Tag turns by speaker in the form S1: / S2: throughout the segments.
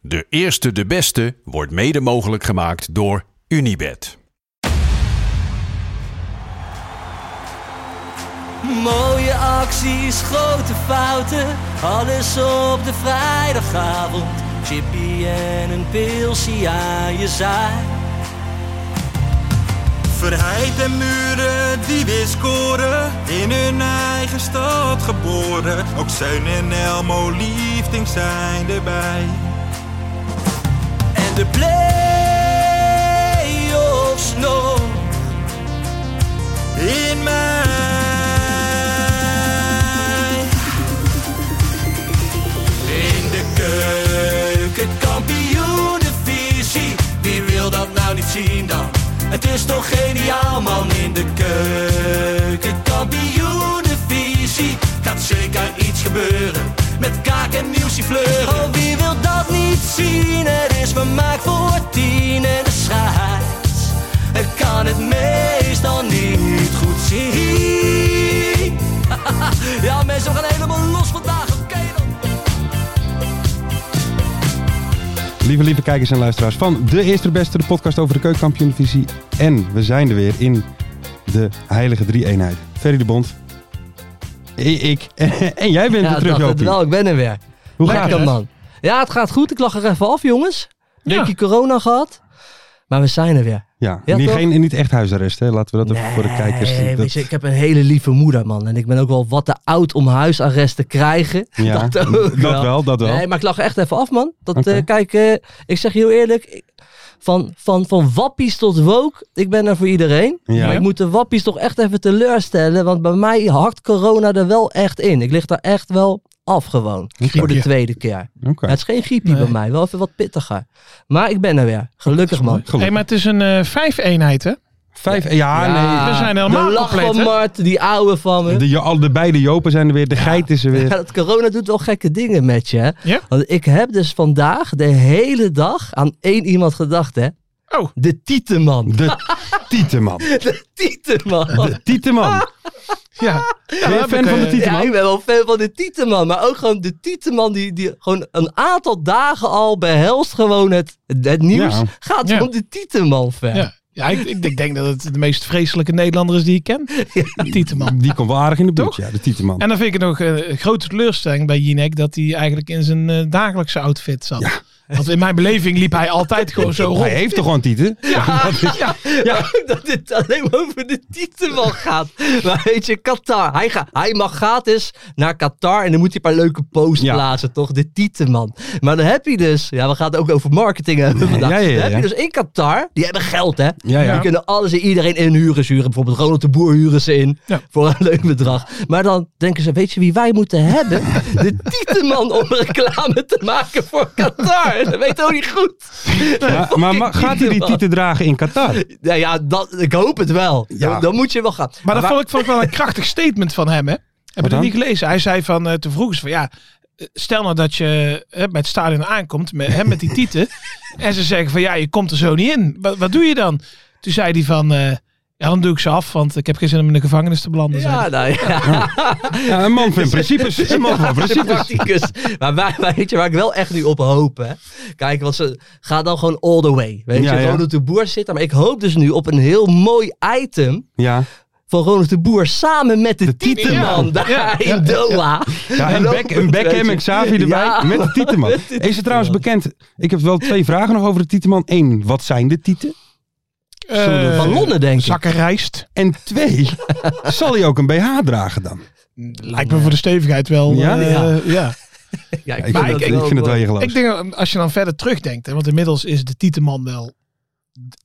S1: De eerste, de beste wordt mede mogelijk gemaakt door Unibed.
S2: Mooie acties, grote fouten, alles op de vrijdagavond. Chippy en een pilsie aan je zaai.
S3: Verheid en muren die weer scoren, in hun eigen stad geboren. Ook Zeun en Elmo liefding zijn erbij.
S2: En de play-offs nog.
S3: In mij.
S2: In de keuken, kampioenenvisie. Wie wil dat nou niet zien dan? Het is toch geniaal man in de keuken, kampioenenvisie. Gaat zeker iets gebeuren met kaak en nieuwsie fleuren. Oh, wie wil dat niet zien? Het is vermaakt voor tien en de scheids. Ik kan het meestal niet goed zien. ja mensen, we gaan helemaal los vandaag, oké dan.
S4: Lieve, lieve kijkers en luisteraars van de Eerste de Beste, de podcast over de keukenkampioenvisie. En we zijn er weer in de heilige drie-eenheid. Ferry de Bond, i- ik en jij bent
S5: ja,
S4: weer terug,
S5: dacht het
S4: Jopie.
S5: wel. Ik ben er weer.
S4: Hoe
S5: Lekker,
S4: gaat het?
S5: man. Ja, het gaat goed. Ik lag er even af, jongens. Een
S4: Ja.
S5: beetje corona gehad. Maar we zijn er weer.
S4: Ja,
S5: Ja,
S4: niet,
S5: toch?
S4: geen, niet echt huisarrest, hè? laten we dat even voor de
S5: Nee,
S4: kijkers...
S5: weet
S4: dat-
S5: je, ik heb een hele lieve moeder, man. En ik ben ook wel wat te oud om huisarrest te krijgen.
S4: ja,
S5: dat ook wel.
S4: wel, dat wel.
S5: Nee, maar ik lag er echt even af, man. Dat,
S4: Oké.
S5: eh, kijk, eh, ik zeg je heel eerlijk. ik- Van, van, van wappies tot woke, ik ben er voor iedereen.
S4: Ja.
S5: Maar ik moet de wappies toch echt even teleurstellen. Want bij mij hakt corona er wel echt in. Ik lig daar echt wel af gewoon.
S4: Griepje.
S5: Voor de tweede keer.
S4: Oké.
S5: Ja, het is geen griepje bij mij, wel even wat pittiger. Maar ik ben er weer. Gelukkig man.
S4: Gelukkig.
S6: Hey, maar het is een eh vijf eenheid, hè?
S4: Vijf, ja,
S5: Ja,
S4: nee.
S6: we zijn helemaal
S5: De lach
S6: compleet,
S5: van
S6: hè?
S5: Mart, die ouwe van me.
S4: De, jo- al de beide Jopen zijn er weer, de geit is er
S5: Ja,
S4: weer.
S5: dat corona doet wel gekke dingen met je. hè.
S6: Ja?
S5: Want ik heb dus vandaag de hele dag aan één iemand gedacht, hè.
S6: Oh.
S5: De Tieteman.
S4: De Tieteman.
S5: De Tieteman.
S4: De Tieteman.
S6: Ja.
S4: Ben je fan van de Tieteman?
S5: Eh, Ja, ik ben wel fan van de Tieteman. Maar ook gewoon de Tieteman die, die gewoon een aantal dagen al behelst gewoon het, het nieuws.
S4: Ja.
S5: Gaat
S6: Ja.
S5: om de Tieteman fan.
S6: Ja, ja ik, ik, ik denk dat het de meest vreselijke Nederlander is die ik ken. Tieteman.
S4: Die komt wel aardig in de buurt,
S6: Toch?
S4: ja, de Tieteman.
S6: En dan vind ik het nog eh, een grote teleurstelling bij Jinek dat hij eigenlijk in zijn eh, dagelijkse outfit zat. Want in mijn beleving liep hij altijd gewoon zo rond.
S4: Hij heeft toch gewoon tieten?
S6: Ja, ja.
S5: dat het alleen maar over de Tieteman gaat. Maar weet je, Qatar. Hij, ga, hij mag gratis naar Qatar en dan moet hij een paar leuke posts
S4: Ja.
S5: plaatsen, toch? De Tieteman. Maar dan heb je dus... Ja, we gaan het ook over marketing hebben vandaag.
S4: ja, ja,
S5: Dan heb je
S4: ja.
S5: dus in Qatar... Die hebben geld, hè?
S4: Ja, ja.
S5: Die kunnen alles en iedereen inhuren. Ze huren bijvoorbeeld Ronald de Boer huren ze in.
S6: Ja.
S5: Voor een leuk bedrag. Maar dan denken ze, weet je wie wij moeten hebben? De Tieteman om reclame te maken voor Qatar. Dat weet ook niet goed.
S4: Ja, maar ma- gaat hij die
S5: Tieteman.
S4: tieten dragen in Qatar?
S5: Nou ja, dat, ik hoop het wel.
S4: Ja.
S5: Dan, dan moet je wel gaan.
S6: Maar dat
S5: Wa-
S6: vond ik, vond ik wel een krachtig statement van hem, hè? Heb
S4: Wat
S6: je
S4: dan?
S6: dat niet gelezen? Hij zei van, eh, te vroeg is van, ja, eh, stel nou dat je eh, bij het stadion aankomt, met, hè, met die tieten. en ze zeggen van, ja, je komt er zo niet in. Wat, wat doe je dan? Toen zei hij van, eh, ja, dan doe ik ze af, want ik heb geen zin om in de gevangenis te belanden. zei hij.
S5: Ja, nou ja.
S4: Ja, een man van principes. Een man van
S5: De
S4: principes.
S5: practicus. Maar waar, waar- weet je waar ik wel echt nu op hoop, hè? Kijk, want ze gaan dan gewoon all the way. Weet
S4: Ja,
S5: je,
S4: ja.
S5: Ronald de Boer zit daar. Maar ik hoop dus nu op een heel mooi item
S4: Ja.
S5: van Ronald de Boer samen met de, Tieteman
S6: Ja.
S5: daar
S6: Ja.
S5: in Doha.
S4: Ja, een, back, een Beckham en Xavi erbij
S5: Ja.
S4: met de Tieteman. Is het trouwens bekend? Ik heb wel twee vragen nog over de Tieteman. Eén, wat zijn de Tieten?
S6: Eh,
S5: Ballonnen, denk ik.
S6: Zakken rijst.
S4: En twee, zal hij ook een BH dragen dan?
S6: Lijkt me voor de stevigheid wel.
S4: Ja?
S6: eh,
S5: Ja.
S6: ja.
S5: Ja,
S4: Ja, ik
S5: vond
S4: vind, het,
S5: dat
S4: ik vind het wel
S5: mooi.
S4: je geloof.
S6: Ik denk, dat als je dan verder terugdenkt, hè, want inmiddels is de Tieteman wel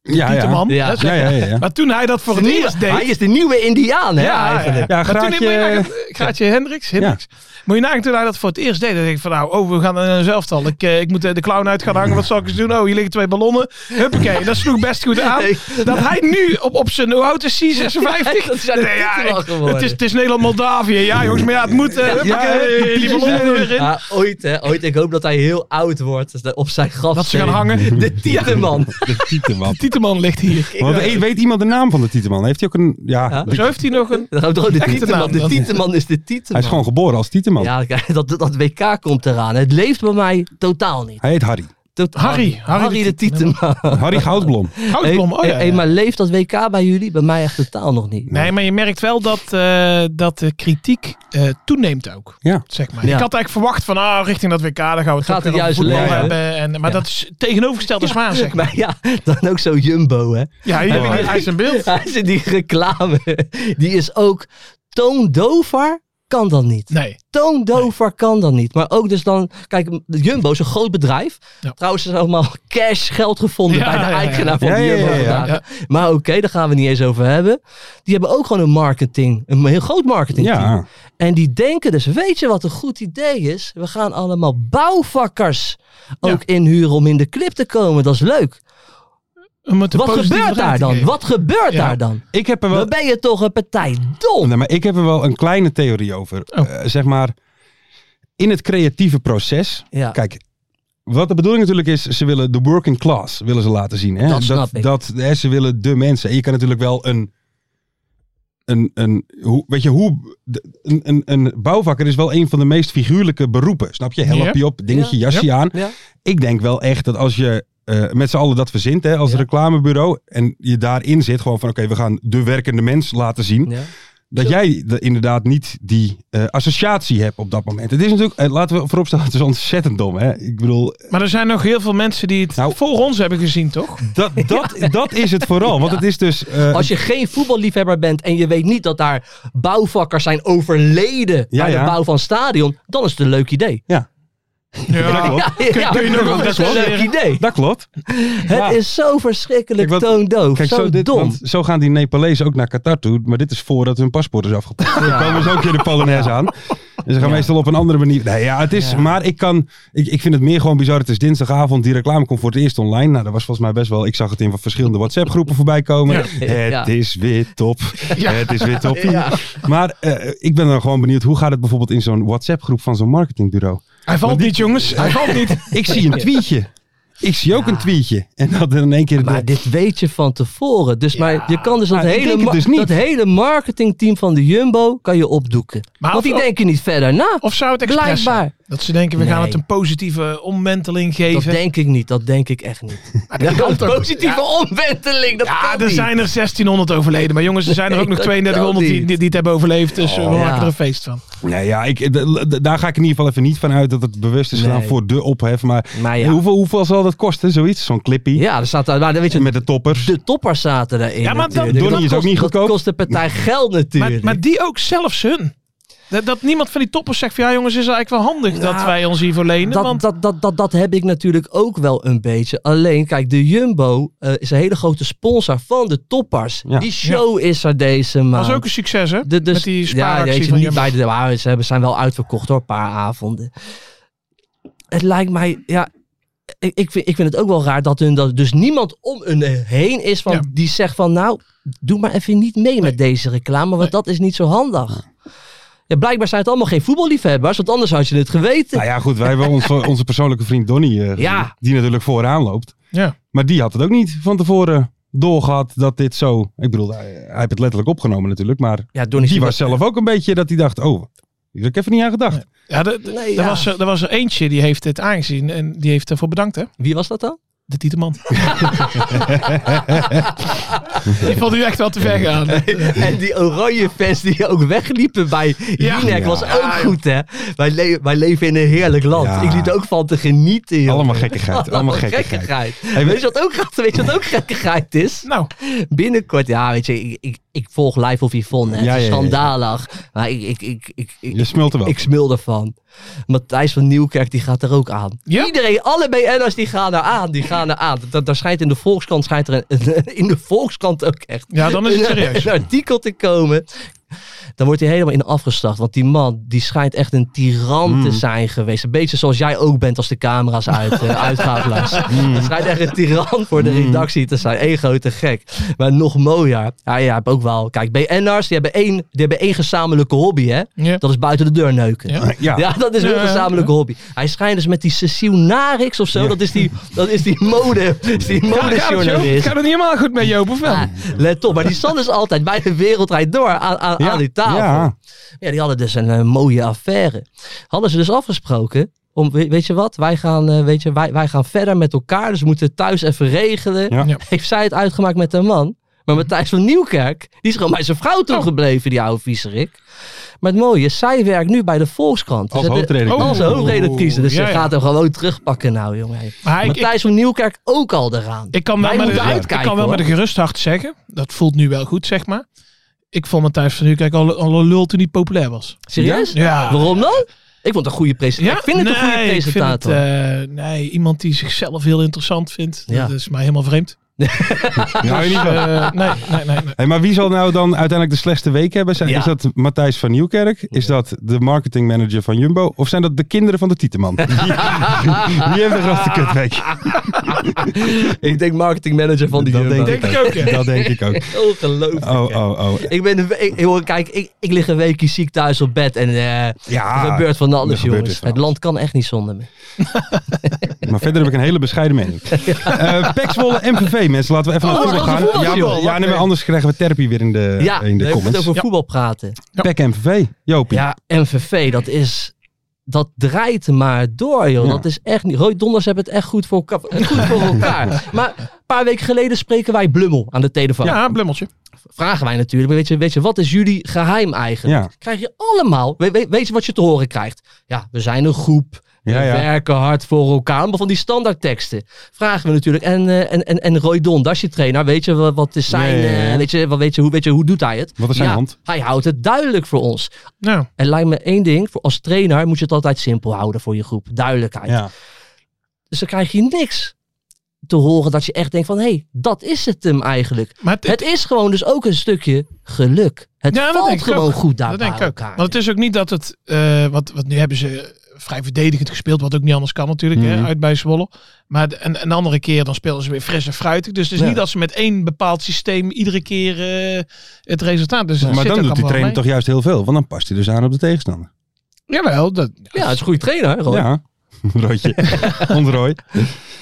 S4: Ja, ja.
S6: Tieteman.
S5: Ja.
S6: hè, zeg
S4: Ja, ja, ja, ja.
S6: Maar toen hij dat voor
S5: De
S6: het
S5: nieuwe-
S6: eerst deed...
S5: Hij is de nieuwe Indiaan, hè, eigenlijk.
S4: Ja,
S6: Maar toen-
S4: Graatje-
S6: moet je nagaan- Graatje Hendricks. Hendricks. Moet je nagaan, toen hij dat voor het eerst deed, dan denk ik van nou, oh, we gaan naar een zelftal. Ik, eh, ik moet eh, de clown uit gaan hangen. Wat zal ik eens doen? Oh, hier liggen twee ballonnen. Huppakee. Dat sloeg best goed aan. Dat hij nu op, op zijn, hoe oud is hij? 56?
S5: Ja, dat is uit de Tieteman
S6: ik-
S5: geworden.
S6: het is, het is Nederland-Moldavië. Ja, jongens, maar ja, het moet. eh, huppakee, die ballonnen er weer in.
S5: Ja, ooit, hè. Ooit. Ik hoop dat hij heel oud wordt. dus dat op zijn graf.
S6: Dat ze gaan hangen.
S5: De Tieteman.
S4: De Tieteman.
S6: Tieteman ligt hier.
S4: eh, Want weet- weet iemand de naam van de Tieteman? Heeft hij ook een... Ja,
S5: Ja.
S4: de-
S6: Zo heeft hij nog een...
S5: Dat houdt toch de
S6: Echte
S5: Tieteman.
S6: naam
S5: De
S6: dan.
S5: Tieteman is de Tieteman.
S4: hij is gewoon geboren als Tieteman.
S5: Ja, kijk, dat, dat WK komt eraan. Het leeft bij mij totaal niet.
S4: Hij heet Harry.
S5: Tot-
S6: Harry, Harry
S5: Harry
S6: de
S5: de Tieteman.
S4: Harry Goudblom.
S6: Goudblom.
S5: Hey,
S6: Oh, ja,
S5: hey,
S6: ja.
S5: maar leeft dat WK bij jullie? Bij mij echt totaal nog niet.
S6: Nee, maar je merkt wel dat, eh, dat de kritiek eh, toeneemt ook.
S4: Ja.
S6: Zeg maar.
S5: Ja.
S6: Ik had eigenlijk verwacht van ah, richting dat WK, dan gaan we het
S5: Gaat
S6: toch
S5: het
S6: weer over
S5: juist
S6: voetbal
S5: leiden, hè?
S6: hebben. En, maar
S5: Ja.
S6: dat is tegenovergesteld is waar, zeg maar.
S5: Maar ja, dan ook zo Jumbo, hè.
S6: Ja, hier, hij, hij is een beeld.
S5: Hij zit die reclame, die is ook toondover kan dat niet.
S6: Nee,
S5: Toondover kan dat niet. Maar ook dus dan, kijk, Jumbo is een groot bedrijf.
S6: Ja.
S5: Trouwens, is allemaal cash geld gevonden
S6: Ja,
S5: bij de
S6: ja, ja, ja.
S5: eigenaar van
S4: Ja,
S5: de
S4: ja,
S5: Jumbo.
S4: ja, ja.
S5: vandaag. Maar oké, daar gaan we niet eens over hebben. Die hebben ook gewoon een marketing, een heel groot marketingteam.
S4: Ja.
S5: En die denken dus, weet je wat een goed idee is? We gaan allemaal bouwvakkers ook inhuren om in de clip te komen. Dat is leuk.
S6: om het een
S5: Wat
S6: positieve
S5: gebeurt daar
S6: draai te
S5: dan?
S6: geven.
S5: Wat gebeurt
S6: Ja.
S5: daar dan?
S4: Ik heb er wel...
S5: Dan ben je toch een partij dom.
S4: Nee, maar ik heb er wel een kleine theorie over. Eh, zeg maar, in het creatieve proces.
S5: Ja.
S4: Kijk, wat de bedoeling natuurlijk is, ze willen de working class willen ze laten zien. Hè?
S5: Dat snap ik.
S4: dat hè, ze willen de mensen. En je kan natuurlijk wel een. Een, een, hoe, weet je, hoe, de- een, een, een bouwvakker is wel een van de meest figuurlijke beroepen. Snap je? Help
S6: Ja.
S4: je op, dingetje,
S5: Ja.
S4: jasje aan.
S5: Ja.
S4: Ik denk wel echt dat als je eh, met z'n allen dat verzint hè, als
S5: Ja.
S4: reclamebureau. En je daarin zit gewoon van oké, we gaan de werkende mens laten zien
S5: Ja.
S4: dat jij de- inderdaad niet die eh, associatie hebt op dat moment. Het is natuurlijk, eh, laten we vooropstellen, het is ontzettend dom. Hè? Ik bedoel,
S6: Maar er zijn nog heel veel mensen die het
S4: Nou.
S6: voor ons hebben gezien, toch?
S4: dat, dat, dat is het vooral. Want het is dus... eh,
S5: Als je geen voetballiefhebber bent en je weet niet dat daar bouwvakkers zijn overleden
S4: Ja,
S5: bij
S4: ja.
S5: de bouw van stadion, dan is het een leuk idee.
S4: ja,
S6: Ja.
S5: Ja, ja,
S6: kun je nog
S5: dan
S6: wel
S5: is
S6: best
S5: het een
S6: wel
S5: leuk
S6: leren.
S5: idee.
S4: dat klopt. Ja.
S5: Het is zo verschrikkelijk
S4: Kijk, wat-
S5: toondoof,
S4: Kijk,
S5: zo,
S4: zo, dit,
S5: dom.
S4: want zo gaan die Nepalezen ook naar Qatar toe. Maar dit is voordat hun paspoort is afgepakt. Dan komen ze ook weer de Polonaise aan. En ze gaan meestal op een andere manier. Nee, ja, het is, maar ik kan, ik, ik vind het meer gewoon bizar. Het is dinsdagavond, die reclame komt voor het eerst online. Nou, dat was volgens mij best wel, ik zag het in wat verschillende WhatsApp groepen voorbij komen. Het
S5: Ja.
S4: is weer top. Het is weer top. Maar eh, ik ben dan gewoon benieuwd, hoe gaat het bijvoorbeeld in zo'n WhatsApp groep van zo'n marketingbureau?
S6: Hij valt niet, jongens. Hij valt niet.
S4: Ik zie een tweetje. Ik zie ook een tweetje. En dat in één keer...
S5: Maar dit weet je van tevoren. Dus maar je kan dus dat,
S4: Maar ik
S5: hele,
S4: denk het
S5: ma-
S4: dus niet.
S5: dat hele marketingteam van de Jumbo kan je opdoeken.
S6: Maar
S5: Want
S6: of-
S5: die denken niet verder na.
S6: Of zou het expres zijn?
S5: Blijkbaar.
S6: Dat ze denken, we gaan
S5: Nee.
S6: het een positieve omwenteling
S5: Dat
S6: geven.
S5: denk ik niet, dat denk ik echt niet.
S6: dat kan
S5: Een
S6: toch?
S5: positieve omwenteling, dat
S6: Ja,
S5: kan
S6: er
S5: niet.
S6: zijn er 1600 overleden. Maar jongens, er zijn er
S5: Nee,
S6: ook nog
S5: dat kan
S6: 3200 die,
S5: niet.
S6: die, die het hebben overleefd. Dus eh, we
S5: Oh.
S6: maken
S5: Ja.
S6: er een feest van.
S4: Nee, ja, ik, d- d- daar ga ik in ieder geval even niet van uit dat het bewust is gedaan
S5: Nee.
S4: voor de ophef. Maar,
S5: Maar ja.
S4: hoeveel, hoeveel zal dat kosten, zoiets? Zo'n clippie
S5: Ja, er staat daar, maar dan weet je,
S4: met de toppers.
S5: de toppers zaten daarin.
S6: Ja, maar dat-
S5: natuurlijk.
S4: Donnie is
S5: kost-
S4: ook niet goedkoop.
S5: Dat kost de partij geld
S6: Maar,
S5: natuurlijk.
S6: maar die ook zelfs hun. Dat, dat niemand van die toppers zegt van ja jongens, is eigenlijk wel handig dat
S5: Nou,
S6: wij ons hiervoor lenen.
S5: dat,
S6: want
S5: dat, dat, dat, dat heb ik natuurlijk ook wel een beetje. Alleen, kijk, de Jumbo eh, is een hele grote sponsor van de toppers.
S4: Ja.
S5: Die show is er deze maand.
S6: was ook een succes hè,
S5: De- de-
S6: met die
S5: ja,
S6: spaaractie
S5: weet je,
S6: van
S5: niet
S6: Jumbo.
S5: bij de, maar ze hebben- zijn wel uitverkocht door een paar avonden. Het lijkt mij, ja, ik, ik, vind, ik vind het ook wel raar dat hun dat dus niemand om hun heen is van
S6: Ja.
S5: die zegt van nou, doe maar even niet mee met deze reclame, want
S6: Nee.
S5: dat is niet zo handig. Ja, blijkbaar zijn het allemaal geen voetballiefhebbers, want anders had je het geweten.
S4: Nou ja, goed, wij hebben onze, onze persoonlijke vriend Donnie, eh,
S5: Ja.
S4: die natuurlijk vooraan loopt.
S6: Ja.
S4: Maar die had het ook niet van tevoren doorgehad dat dit zo... Ik bedoel, hij, hij heeft het letterlijk opgenomen natuurlijk, maar
S5: Ja, Donnie
S4: die
S5: Siebert-
S4: was zelf ook een beetje dat hij dacht, oh, hier heb ik even niet aan gedacht.
S6: Ja, de- de-
S5: Nee,
S6: er,
S5: ja.
S6: Was er, er was er eentje die heeft dit aangezien en die heeft ervoor bedankt hè.
S5: Wie was dat dan?
S6: De Tieteman. die vond u echt wel te ver gaan.
S5: En die oranje fans die ook wegliepen bij
S6: Ja.
S5: Jinek was ook
S6: Ja, joh.
S5: goed, hè? Wij, le- wij leven in een heerlijk land.
S4: Ja.
S5: Ik liet ook van te genieten, joh.
S4: Allemaal gekkigheid, allemaal gekkigheid.
S5: Weet je wat ook, weet je wat ook gekkigheid is?
S6: Nou,
S5: Binnenkort, ja, weet je, ik, ik, ik volg Live of Yvonne.
S4: Ja,
S5: Het is
S4: ja, ja, ja.
S5: schandalig. Maar ik, ik, ik, ik, ik,
S4: Je smult er wel.
S5: ik smul ervan. Matthijs van Nieuwkerk die gaat er ook aan.
S6: Ja?
S5: Iedereen, alle BN'ers die gaan er aan. Die gaan er aan. Dat, daar schijnt in de Volkskrant, schijnt er een- in de Volkskrant ook echt
S6: Ja, dan is het serieus.
S5: een artikel te komen. Dan wordt hij helemaal in afgestacht. Want die man die schijnt echt een tiran
S6: Hmm.
S5: te zijn geweest. Een beetje zoals jij ook bent als de camera's uit, eh, uitgaat. Lars.
S6: Hmm.
S5: Dat schijnt echt een tiran voor de redactie te zijn. Eén grote gek. Maar nog mooier. Ja, ja, heb ook wel. Kijk, BN'ers die hebben één, die hebben één gezamenlijke hobby. Hè?
S6: Ja.
S5: Dat is buiten de deur neuken.
S6: Ja.
S4: Ja.
S5: Ja. dat is
S6: Ja,
S5: hun
S6: ja,
S5: gezamenlijke hobby. Hij schijnt dus met die Cecile Narix of zo. Dat is die, dat is die mode, is die
S6: Gaat het, Joop?
S5: modejournalist.
S6: Gaat het niet helemaal goed met Joop, of wel?
S5: Ja, let op, maar die zat dus altijd bij de wereldrijd door aan, aan, aan die tafel.
S4: Ja.
S5: Ja. die hadden dus een eh, mooie affaire. Hadden ze dus afgesproken om, we- weet je wat, wij gaan, eh, weet je, wij, wij gaan verder met elkaar, dus we moeten thuis even regelen.
S4: Ja.
S6: Ja.
S5: Heeft zij het uitgemaakt met haar man? Maar Matthijs van Nieuwkerk, die is gewoon bij zijn vrouw toegebleven, die oude viezerik. Maar het mooie is, zij werkt nu bij de Volkskrant. Dus
S4: Als
S5: het-
S4: hoofdredacteur.
S6: Oh.
S5: als hoofdredactrice. Dus
S6: Ja,
S5: ze
S6: ja.
S5: gaat hem gewoon terugpakken nou, jongen.
S6: Maar ik-
S5: Matthijs van Nieuwkerk ook al eraan.
S6: Ik kan
S5: Wij
S6: wel, met,
S5: moeten
S6: een-
S5: uitkijken,
S6: ik kan wel
S5: hoor.
S6: met een gerust hart zeggen, dat voelt nu wel goed, zeg maar. Ik vond Matthijs van Nieuwkerk al, al een lul toen hij populair was.
S5: Serieus?
S6: Ah, Ja.
S5: Waarom dan? Ik vond het een goede presentator. ik vind het een
S6: nee,
S5: goede
S6: ik vind
S5: presentator.
S6: het, eh, nee, iemand die zichzelf heel interessant vindt,
S5: Ja.
S6: dat is mij helemaal vreemd.
S4: Nou, in ieder geval.
S6: Eh, nee, nee, nee. nee.
S4: Hey, maar wie zal nou dan uiteindelijk de slechtste week hebben? Zijn,
S5: Ja.
S4: Is dat Matthijs van Nieuwkerk? Is dat de marketingmanager van Jumbo? Of zijn dat de kinderen van de Tieteman? Die, die hebben een grote kutweek.
S6: eh,
S5: ik denk marketingmanager van die
S4: Dat
S5: Jumbo.
S4: denk ik
S6: Denk ik ook, ja.
S4: Dat denk ik ook.
S5: Ongelooflijk.
S4: Oh,
S5: hè.
S4: oh, oh.
S5: Ik ben, een- ik, hoor, kijk, ik, ik lig een weekje ziek thuis op bed en eh,
S4: Ja,
S6: Ah.
S5: er gebeurt van
S4: er
S5: alles,
S4: gebeurt dus
S5: jongens.
S4: van
S5: Het land kan echt niet zonder me.
S4: Maar verder heb ik een hele bescheiden mening. Eh Pek Zwolle, MVV, mensen. Laten we even
S5: Oh,
S4: naar
S5: we
S4: voetbal
S5: gaan
S4: gaan.
S5: naar voetbal,
S4: Ja,
S5: joh.
S4: ja nee, maar anders krijgen we therapie weer in de,
S5: ja,
S4: in de
S5: we hebben het
S4: comments.
S5: over voetbal praten.
S4: Pek MVV, Jopie.
S5: Ja, MVV, dat is... Dat draait maar door, joh.
S4: Ja.
S5: Dat is echt niet... Roy Donders hebben het echt goed voor, elka- goed voor elkaar. Maar een paar weken geleden spreken wij Blummel aan de telefoon.
S6: Ja, blummeltje.
S5: vragen wij natuurlijk. Maar weet je, weet je wat is jullie geheim eigenlijk?
S4: Ja.
S5: Krijg je allemaal, we- we- weet je wat je te horen krijgt? Ja, we zijn een groep. We
S4: Ja, ja.
S5: werken hard voor elkaar. Allemaal van die standaardteksten. Vragen we natuurlijk. En, eh, en, en, en Roy Don, dat is je trainer. Weet je wat, wat is zijn...
S4: Ja, ja, ja.
S5: eh, weet, je, wat, weet, je, hoe, weet je, hoe doet hij het?
S4: Wat is zijn
S5: Ja,
S4: hand?
S5: Hij houdt het duidelijk voor ons.
S6: Nou,
S5: En lijkt me één ding. Voor als trainer moet je het altijd simpel houden voor je groep. Duidelijkheid.
S4: Ja.
S5: Dus dan krijg je niks te horen dat je echt denkt van... Hé, hey, dat is het hem eigenlijk.
S6: maar het,
S5: Het is gewoon dus ook een stukje geluk. Het
S6: Ja, dat denk
S5: valt
S6: ik
S5: gewoon
S6: ook.
S5: goed daar
S6: dat
S5: bij
S6: denk ik ook.
S5: elkaar.
S6: Want het is ook niet dat het, eh wat, wat nu hebben ze vrij verdedigend gespeeld, wat ook niet anders kan natuurlijk,
S4: Mhm.
S6: hè, uit bij Zwolle. Maar de- een, een andere keer dan spelen ze weer fris en fruitig. Dus het is
S5: Ja.
S6: niet dat ze met één bepaald systeem iedere keer eh, het resultaat. Dus dat
S4: Maar
S6: zit
S4: dan
S6: ook
S4: doet die
S6: allemaal
S4: trainer
S6: mee.
S4: toch juist heel veel. Want dan past hij dus aan op de tegenstander.
S6: Jawel, dat,
S5: Ja, het is een goede trainer. Roy.
S4: Ja. Roodje. Ontrooi.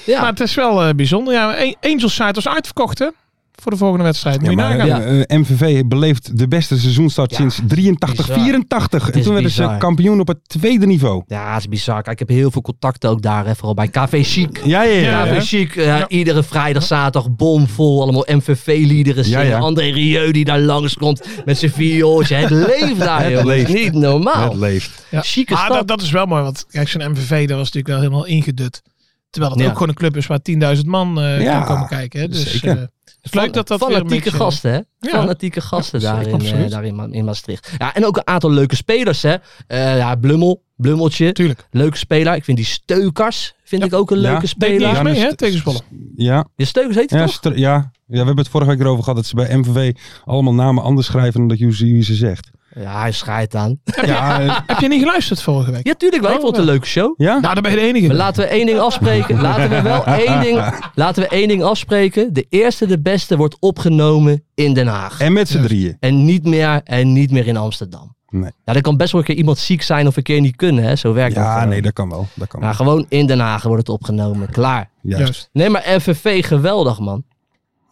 S5: Ja.
S6: Maar het is wel eh, bijzonder. Ja, A- Angels site was uitverkocht hè? voor de volgende wedstrijd. Moet
S4: Ja,
S6: je
S4: maar
S6: nagaan.
S4: eh, eh, MVV beleeft de beste seizoenstart
S5: Ja,
S4: sinds 83,
S5: bizar.
S4: 84. En
S5: is
S4: toen werden ze
S5: bizar.
S4: kampioen op het tweede niveau.
S5: Ja, het is bizar. Kijk, ik heb heel veel contacten ook daar. Hè, vooral bij KV Chic.
S4: Ja, ja, ja.
S6: Ja,
S5: KV
S4: ja.
S6: hè?
S5: Chic, eh, iedere vrijdag, zaterdag, bomvol. Allemaal MVV-liederen
S4: Ja,
S5: zingen.
S4: ja.
S5: André Rieu die daar langskomt met zijn viooltje. Het leeft daar,
S4: Het
S5: joh. Het is
S4: leeft.
S5: niet normaal.
S4: Het leeft.
S6: Ja.
S5: Chique
S6: Maar
S5: stad.
S6: Ah, dat, dat is wel mooi, want kijk, zo'n MVV dat was natuurlijk wel helemaal ingedut. Terwijl het
S5: Ja.
S6: ook gewoon een club is waar 10.000 man eh,
S4: Ja,
S6: kan komen kijken. Hè? Dus,
S4: zeker.
S6: eh, het is leuk dat dat weer een
S5: Fanatieke
S6: beetje-
S5: gasten, hè?
S6: Ja.
S5: Fanatieke gasten
S6: Ja,
S5: daar,
S6: zeker,
S5: in, eh,
S6: absoluut.
S5: daar in, Ma- in Maastricht. Ja, en ook een aantal leuke spelers, hè? Eh, ja, Blummel, Blummeltje.
S6: Tuurlijk.
S5: Leuke speler. Ik vind die Steukers vind ik ook een
S4: Ja.
S5: leuke
S6: Deed niet
S5: speler.
S6: eens
S4: Ja,
S6: mee,
S4: dus
S6: hè,
S4: het-
S6: tegen Zwolle.
S4: Ja.
S5: Je Steukers heet het
S4: Ja,
S5: toch?
S4: str- ja. ja, we hebben het vorige week erover gehad dat ze bij MVV allemaal namen anders schrijven dan dat jullie ze zegt.
S5: Ja, hij schrijft aan.
S4: Ja, eh,
S6: Heb je niet geluisterd vorige week?
S5: Ja, tuurlijk wel. Ik vond het een leuke show.
S4: ja?
S6: Nou, dan ben je de enige.
S5: Maar laten we één ding afspreken. Laten we wel één ding, laten we één ding afspreken. De eerste, de beste wordt opgenomen in Den Haag.
S4: En met z'n drieën.
S5: En niet meer, en niet meer in Amsterdam.
S4: Nee.
S5: Ja, er kan best wel een keer iemand ziek zijn of een keer niet kunnen. Hè? Zo werkt dat. eh,
S4: Ja,
S5: gewoon.
S4: nee, dat kan wel. Dat kan
S5: Maar
S4: wel.
S5: gewoon in Den Haag wordt het opgenomen. Klaar.
S4: Juist.
S5: Nee, maar MVV geweldig, man.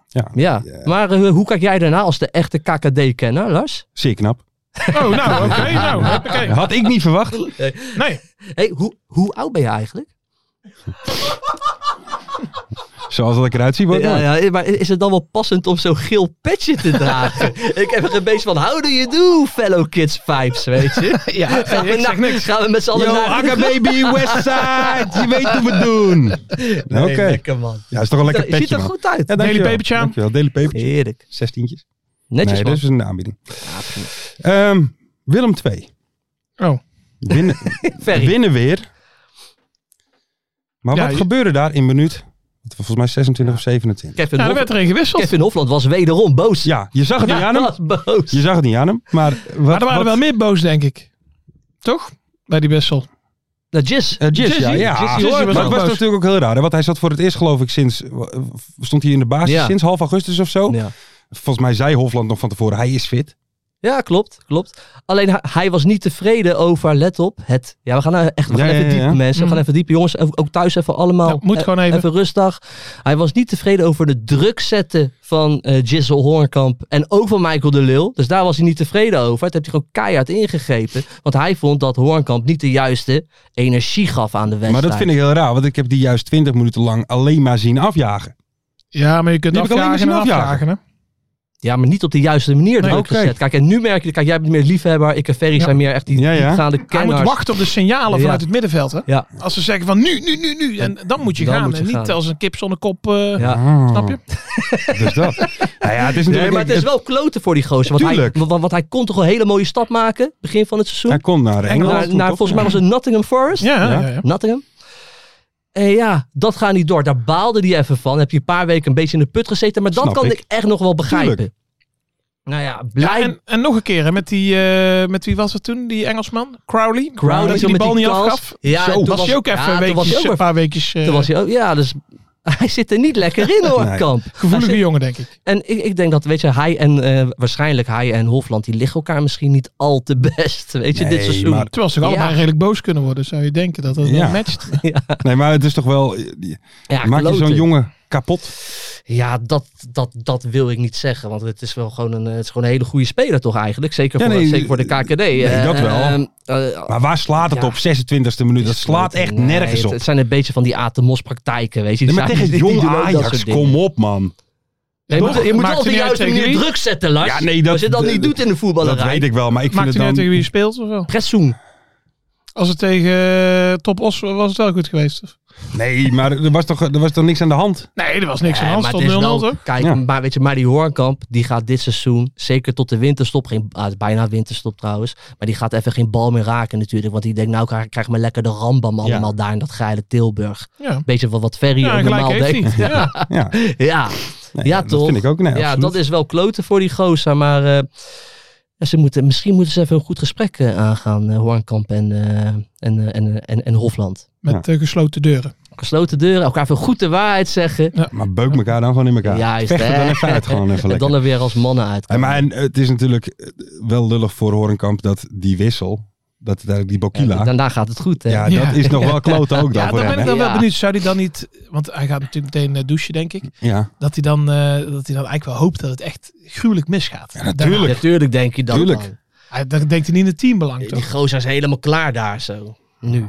S4: Ja.
S5: Ja. Maar eh, hoe kijk jij daarna als de echte KKD-kenner, Lars?
S4: Zeer knap.
S6: Oh, nou, oké. nou, hoppakee.
S4: Had ik niet verwacht.
S6: Nee,
S5: Hey, hoe, hoe oud ben je eigenlijk?
S4: Zoals dat ik eruit zie. word ik
S5: Ja,
S4: nooit.
S5: ja, maar is het dan wel passend om zo'n geel petje te dragen? ik heb er een beetje van, how do you do, fellow kids vibes, weet je?
S6: ja, hey, ik zeg niks.
S5: Gaan we met z'n allen
S4: Yo,
S5: naar...
S4: Akka Baby Westside. Je weet hoe we het doen.
S5: Nee,
S4: Oké.
S5: lekker man.
S4: Ja, is toch wel een lekker
S5: Ziet
S4: petje,
S5: er
S4: man.
S5: goed uit.
S4: Ja, dankjewel.
S6: Daily Papertje aan.
S4: Dankjewel. Daily Papertje.
S5: Heerlijk.
S4: Zestientjes.
S5: Netjes
S4: nee, dus-
S5: man.
S4: dat is een aanbieding. Ehm, Willem 2.
S6: Oh.
S4: Winnen,
S5: Ferry.
S4: winnen weer. Maar
S6: Ja,
S4: wat
S6: je-
S4: gebeurde daar in minuut? wat was Volgens mij 26 of 27.
S5: Kevin,
S6: Ja, er
S5: Hof-
S6: werd erin gewisseld.
S5: Kevin Hofland was wederom boos.
S4: Ja, je zag het niet aan hem.
S5: was boos.
S4: Je zag het niet aan hem. Maar, wat,
S6: maar er waren
S4: wat-
S6: wel meer boos, denk ik. Toch? Bij die wissel.
S4: Oh,
S5: Nou, Jis.
S4: Eh, Jizz,
S6: Jizzy.
S4: ja. ja.
S6: Jizzy
S4: Maar
S6: was ook
S4: het was
S6: boos.
S4: natuurlijk ook heel raar. hè, Want hij zat voor het eerst, geloof ik, sinds... w- w- Stond hij in de basis
S5: Ja.
S4: sinds half augustus of zo?
S5: Ja.
S4: Volgens mij zei Hofland nog van tevoren, hij is fit.
S5: ja, klopt, klopt. Alleen hij, hij was niet tevreden over, let op, het... Ja, we gaan nou echt we gaan
S4: Ja,
S5: even
S4: ja, ja,
S5: diep,
S4: ja.
S5: mensen. We gaan
S6: Mm.
S5: even diep, jongens. Ook ook thuis even allemaal.
S6: Ja, moet
S5: eh,
S6: gewoon even.
S5: rustig. Hij was niet tevreden over de druk zetten van eh Jizzle Hoornkamp en ook van Michael de Leeuw. Dus daar was hij niet tevreden over. Dat heeft hij gewoon keihard ingegrepen. Want hij vond dat Hoornkamp niet de juiste energie gaf aan de wedstrijd.
S4: Maar dat vind ik heel raar. Want ik heb die juist 20 minuten lang alleen maar zien afjagen.
S6: Ja, maar je kunt
S4: Die heb ik alleen
S6: afjagen en
S4: maar zien afjagen.
S6: afjagen. hè?
S5: Ja, maar niet op de juiste manier
S6: Nee,
S5: druk
S4: oké.
S5: gezet. Kijk, en nu merk je, kijk, jij bent meer liefhebber. Ik en Ferry zijn meer echt die
S4: Ja, ja.
S5: diepgaande
S6: Hij moet
S5: kenners.
S6: wachten op de signalen
S5: Ja.
S6: vanuit het middenveld. Hè?
S5: Ja.
S6: Als ze zeggen van nu, nu, nu, nu. En dan moet je
S5: Dan
S6: gaan.
S5: moet je
S6: en niet
S5: gaan.
S6: als een kip zonder kop. eh,
S5: Ja. Oh.
S6: Snap je?
S4: Dus dat. nou ja, het is natuurlijk...
S5: Nee, maar het is wel kloten voor die gozer. Want hij,
S4: Tuurlijk.
S5: wa- wa- want hij kon toch een hele mooie stap maken, begin van het seizoen.
S4: Hij kon naar Engeland.
S5: Naar,
S4: toen
S5: naar,
S4: toch?
S5: nou, volgens mij was het Nottingham Forest.
S6: Ja,
S4: Ja.
S6: ja, ja.
S5: Nottingham.
S4: Eh,
S5: En ja, dat gaat niet door. Daar baalde hij even van. Heb je een paar weken een beetje in de put gezeten. Maar dat
S4: Snap
S5: kan ik.
S4: ik.
S5: echt nog wel begrijpen.
S4: Tuurlijk.
S5: Nou ja,
S6: Ja,
S5: blij.
S6: en, en nog een keer, hè, met, die, eh, met wie was het toen, die Engelsman? Crowley?
S5: Crowley,
S6: dat
S5: zo
S6: je die
S5: met
S6: bal
S5: die
S6: niet
S5: kans.
S6: afgaf.
S5: Ja, en
S6: Zo,
S5: toen
S6: was,
S5: was-
S6: hij ook even
S5: ja,
S6: een,
S5: toen
S6: weekjes,
S5: was hij ook
S6: een paar weekjes eh
S5: Toen was hij ook, ja, dus hij zit er niet lekker in hoor,
S4: Nee.
S5: Kamp. Hij
S6: gevoelige
S5: zit-
S6: jongen, denk ik.
S5: En ik, ik denk dat, weet je, hij en eh, waarschijnlijk hij en Hofland, die liggen elkaar misschien niet al te best, weet je,
S4: Nee,
S5: dit seizoen.
S4: maar-
S6: Terwijl ze toch
S5: Ja.
S6: allemaal redelijk boos kunnen worden, zou je denken dat dat wel
S4: Ja.
S6: matcht.
S4: Nee, maar het is toch wel...
S5: ja,
S4: maak je
S5: kloten.
S4: zo'n jongen kapot?
S5: Ja, dat, dat, dat wil ik niet zeggen, want het is wel gewoon een, eh, het is gewoon een hele goede speler toch eigenlijk, zeker,
S4: Ja,
S5: voor,
S4: nee,
S5: zeker voor de KKD. Eh,
S4: dat wel.
S5: ehm, eh,
S4: Maar waar slaat het
S5: Ja.
S4: op 26e minuut? Dat slaat echt
S5: nee,
S4: nergens
S5: het-
S4: op.
S5: Het zijn een beetje van die Atemos praktijken, weet je.
S4: Nee,
S5: Die
S4: maar
S5: zijn-
S4: tegen
S5: die- die
S4: jong
S5: doen ook dat soort
S4: Ajax,
S5: dingen.
S4: kom op man.
S5: Ja, je moet, je moet
S6: Maakt
S5: wel op
S6: het
S5: de
S6: niet uit
S5: juiste
S6: tegen
S5: manier
S6: wie?
S5: druk zetten, Lars.
S4: Ja, nee, dat-
S5: Als je dat niet
S4: dat-
S5: doet in de voetballerij.
S4: Dat weet ik wel, maar ik vind het
S6: Maakt het niet
S4: dan...
S6: uit tegen wie je speelt of wel?
S5: Pressoen.
S6: Als het tegen eh, Top Os was het wel goed geweest. Of?
S4: Nee, maar er was, toch, er was toch niks aan de hand?
S6: Nee, er was niks aan
S5: Nee,
S6: de hand.
S5: maar
S6: Stond 0-0
S5: het is wel-
S6: toch?
S5: Kijk,
S4: Ja.
S5: maar weet je, maar die Hoornkamp, die gaat dit seizoen, zeker tot de winterstop, geen, ah, het is bijna winterstop trouwens, maar die gaat even geen bal meer raken natuurlijk, want die denkt nou krijg, krijg ik maar lekker de rambam allemaal daar in dat geile Tilburg.
S6: Ja.
S5: Beetje van wat Ferry
S6: Ja,
S5: ook
S6: gelijk
S5: normaal
S6: heeft
S5: deed.
S6: hij. Ja.
S4: Ja, nee,
S5: Ja, ja,
S4: Dat
S5: toch?
S4: vind ik ook. Nee,
S5: ja,
S4: absoluut.
S5: dat is wel kloten voor die gozer, maar eh, ja, ze moeten, misschien moeten ze even een goed gesprek eh, aangaan, eh, Hoornkamp en, eh, en, eh, en, eh, en, en Hofland.
S6: Met eh, gesloten deuren.
S5: Gesloten deuren, elkaar even goed de waarheid zeggen.
S4: Maar beuk elkaar dan gewoon in elkaar.
S5: Juist,
S4: Vecht er
S5: hè?
S4: dan even uit, gewoon even
S5: En
S4: lekker.
S5: dan er weer als mannen uit.
S4: Ja, maar en het is natuurlijk eh, wel lullig voor Horenkamp dat die wissel, dat het eigenlijk die Bokila,
S5: Ja,
S4: ja,
S5: daarna gaat het goed. Hè?
S4: dat is nog wel klote ook dan
S6: Ja,
S4: voor
S6: dan
S4: hem.
S6: ben ik
S4: hè?
S6: dan wel
S5: Ja.
S6: benieuwd. Zou hij dan niet... Want hij gaat natuurlijk meteen eh, douchen, denk ik.
S4: Ja,
S6: Dat hij, dan, eh, dat hij dan eigenlijk wel hoopt dat het echt gruwelijk misgaat.
S4: natuurlijk.
S5: Ja, tuurlijk denk je dat.
S4: Tuurlijk.
S5: dan.
S6: Hij, dat denkt hij niet in het teambelang,
S5: Die
S6: toch?
S5: gozer is helemaal klaar daar zo. Nu.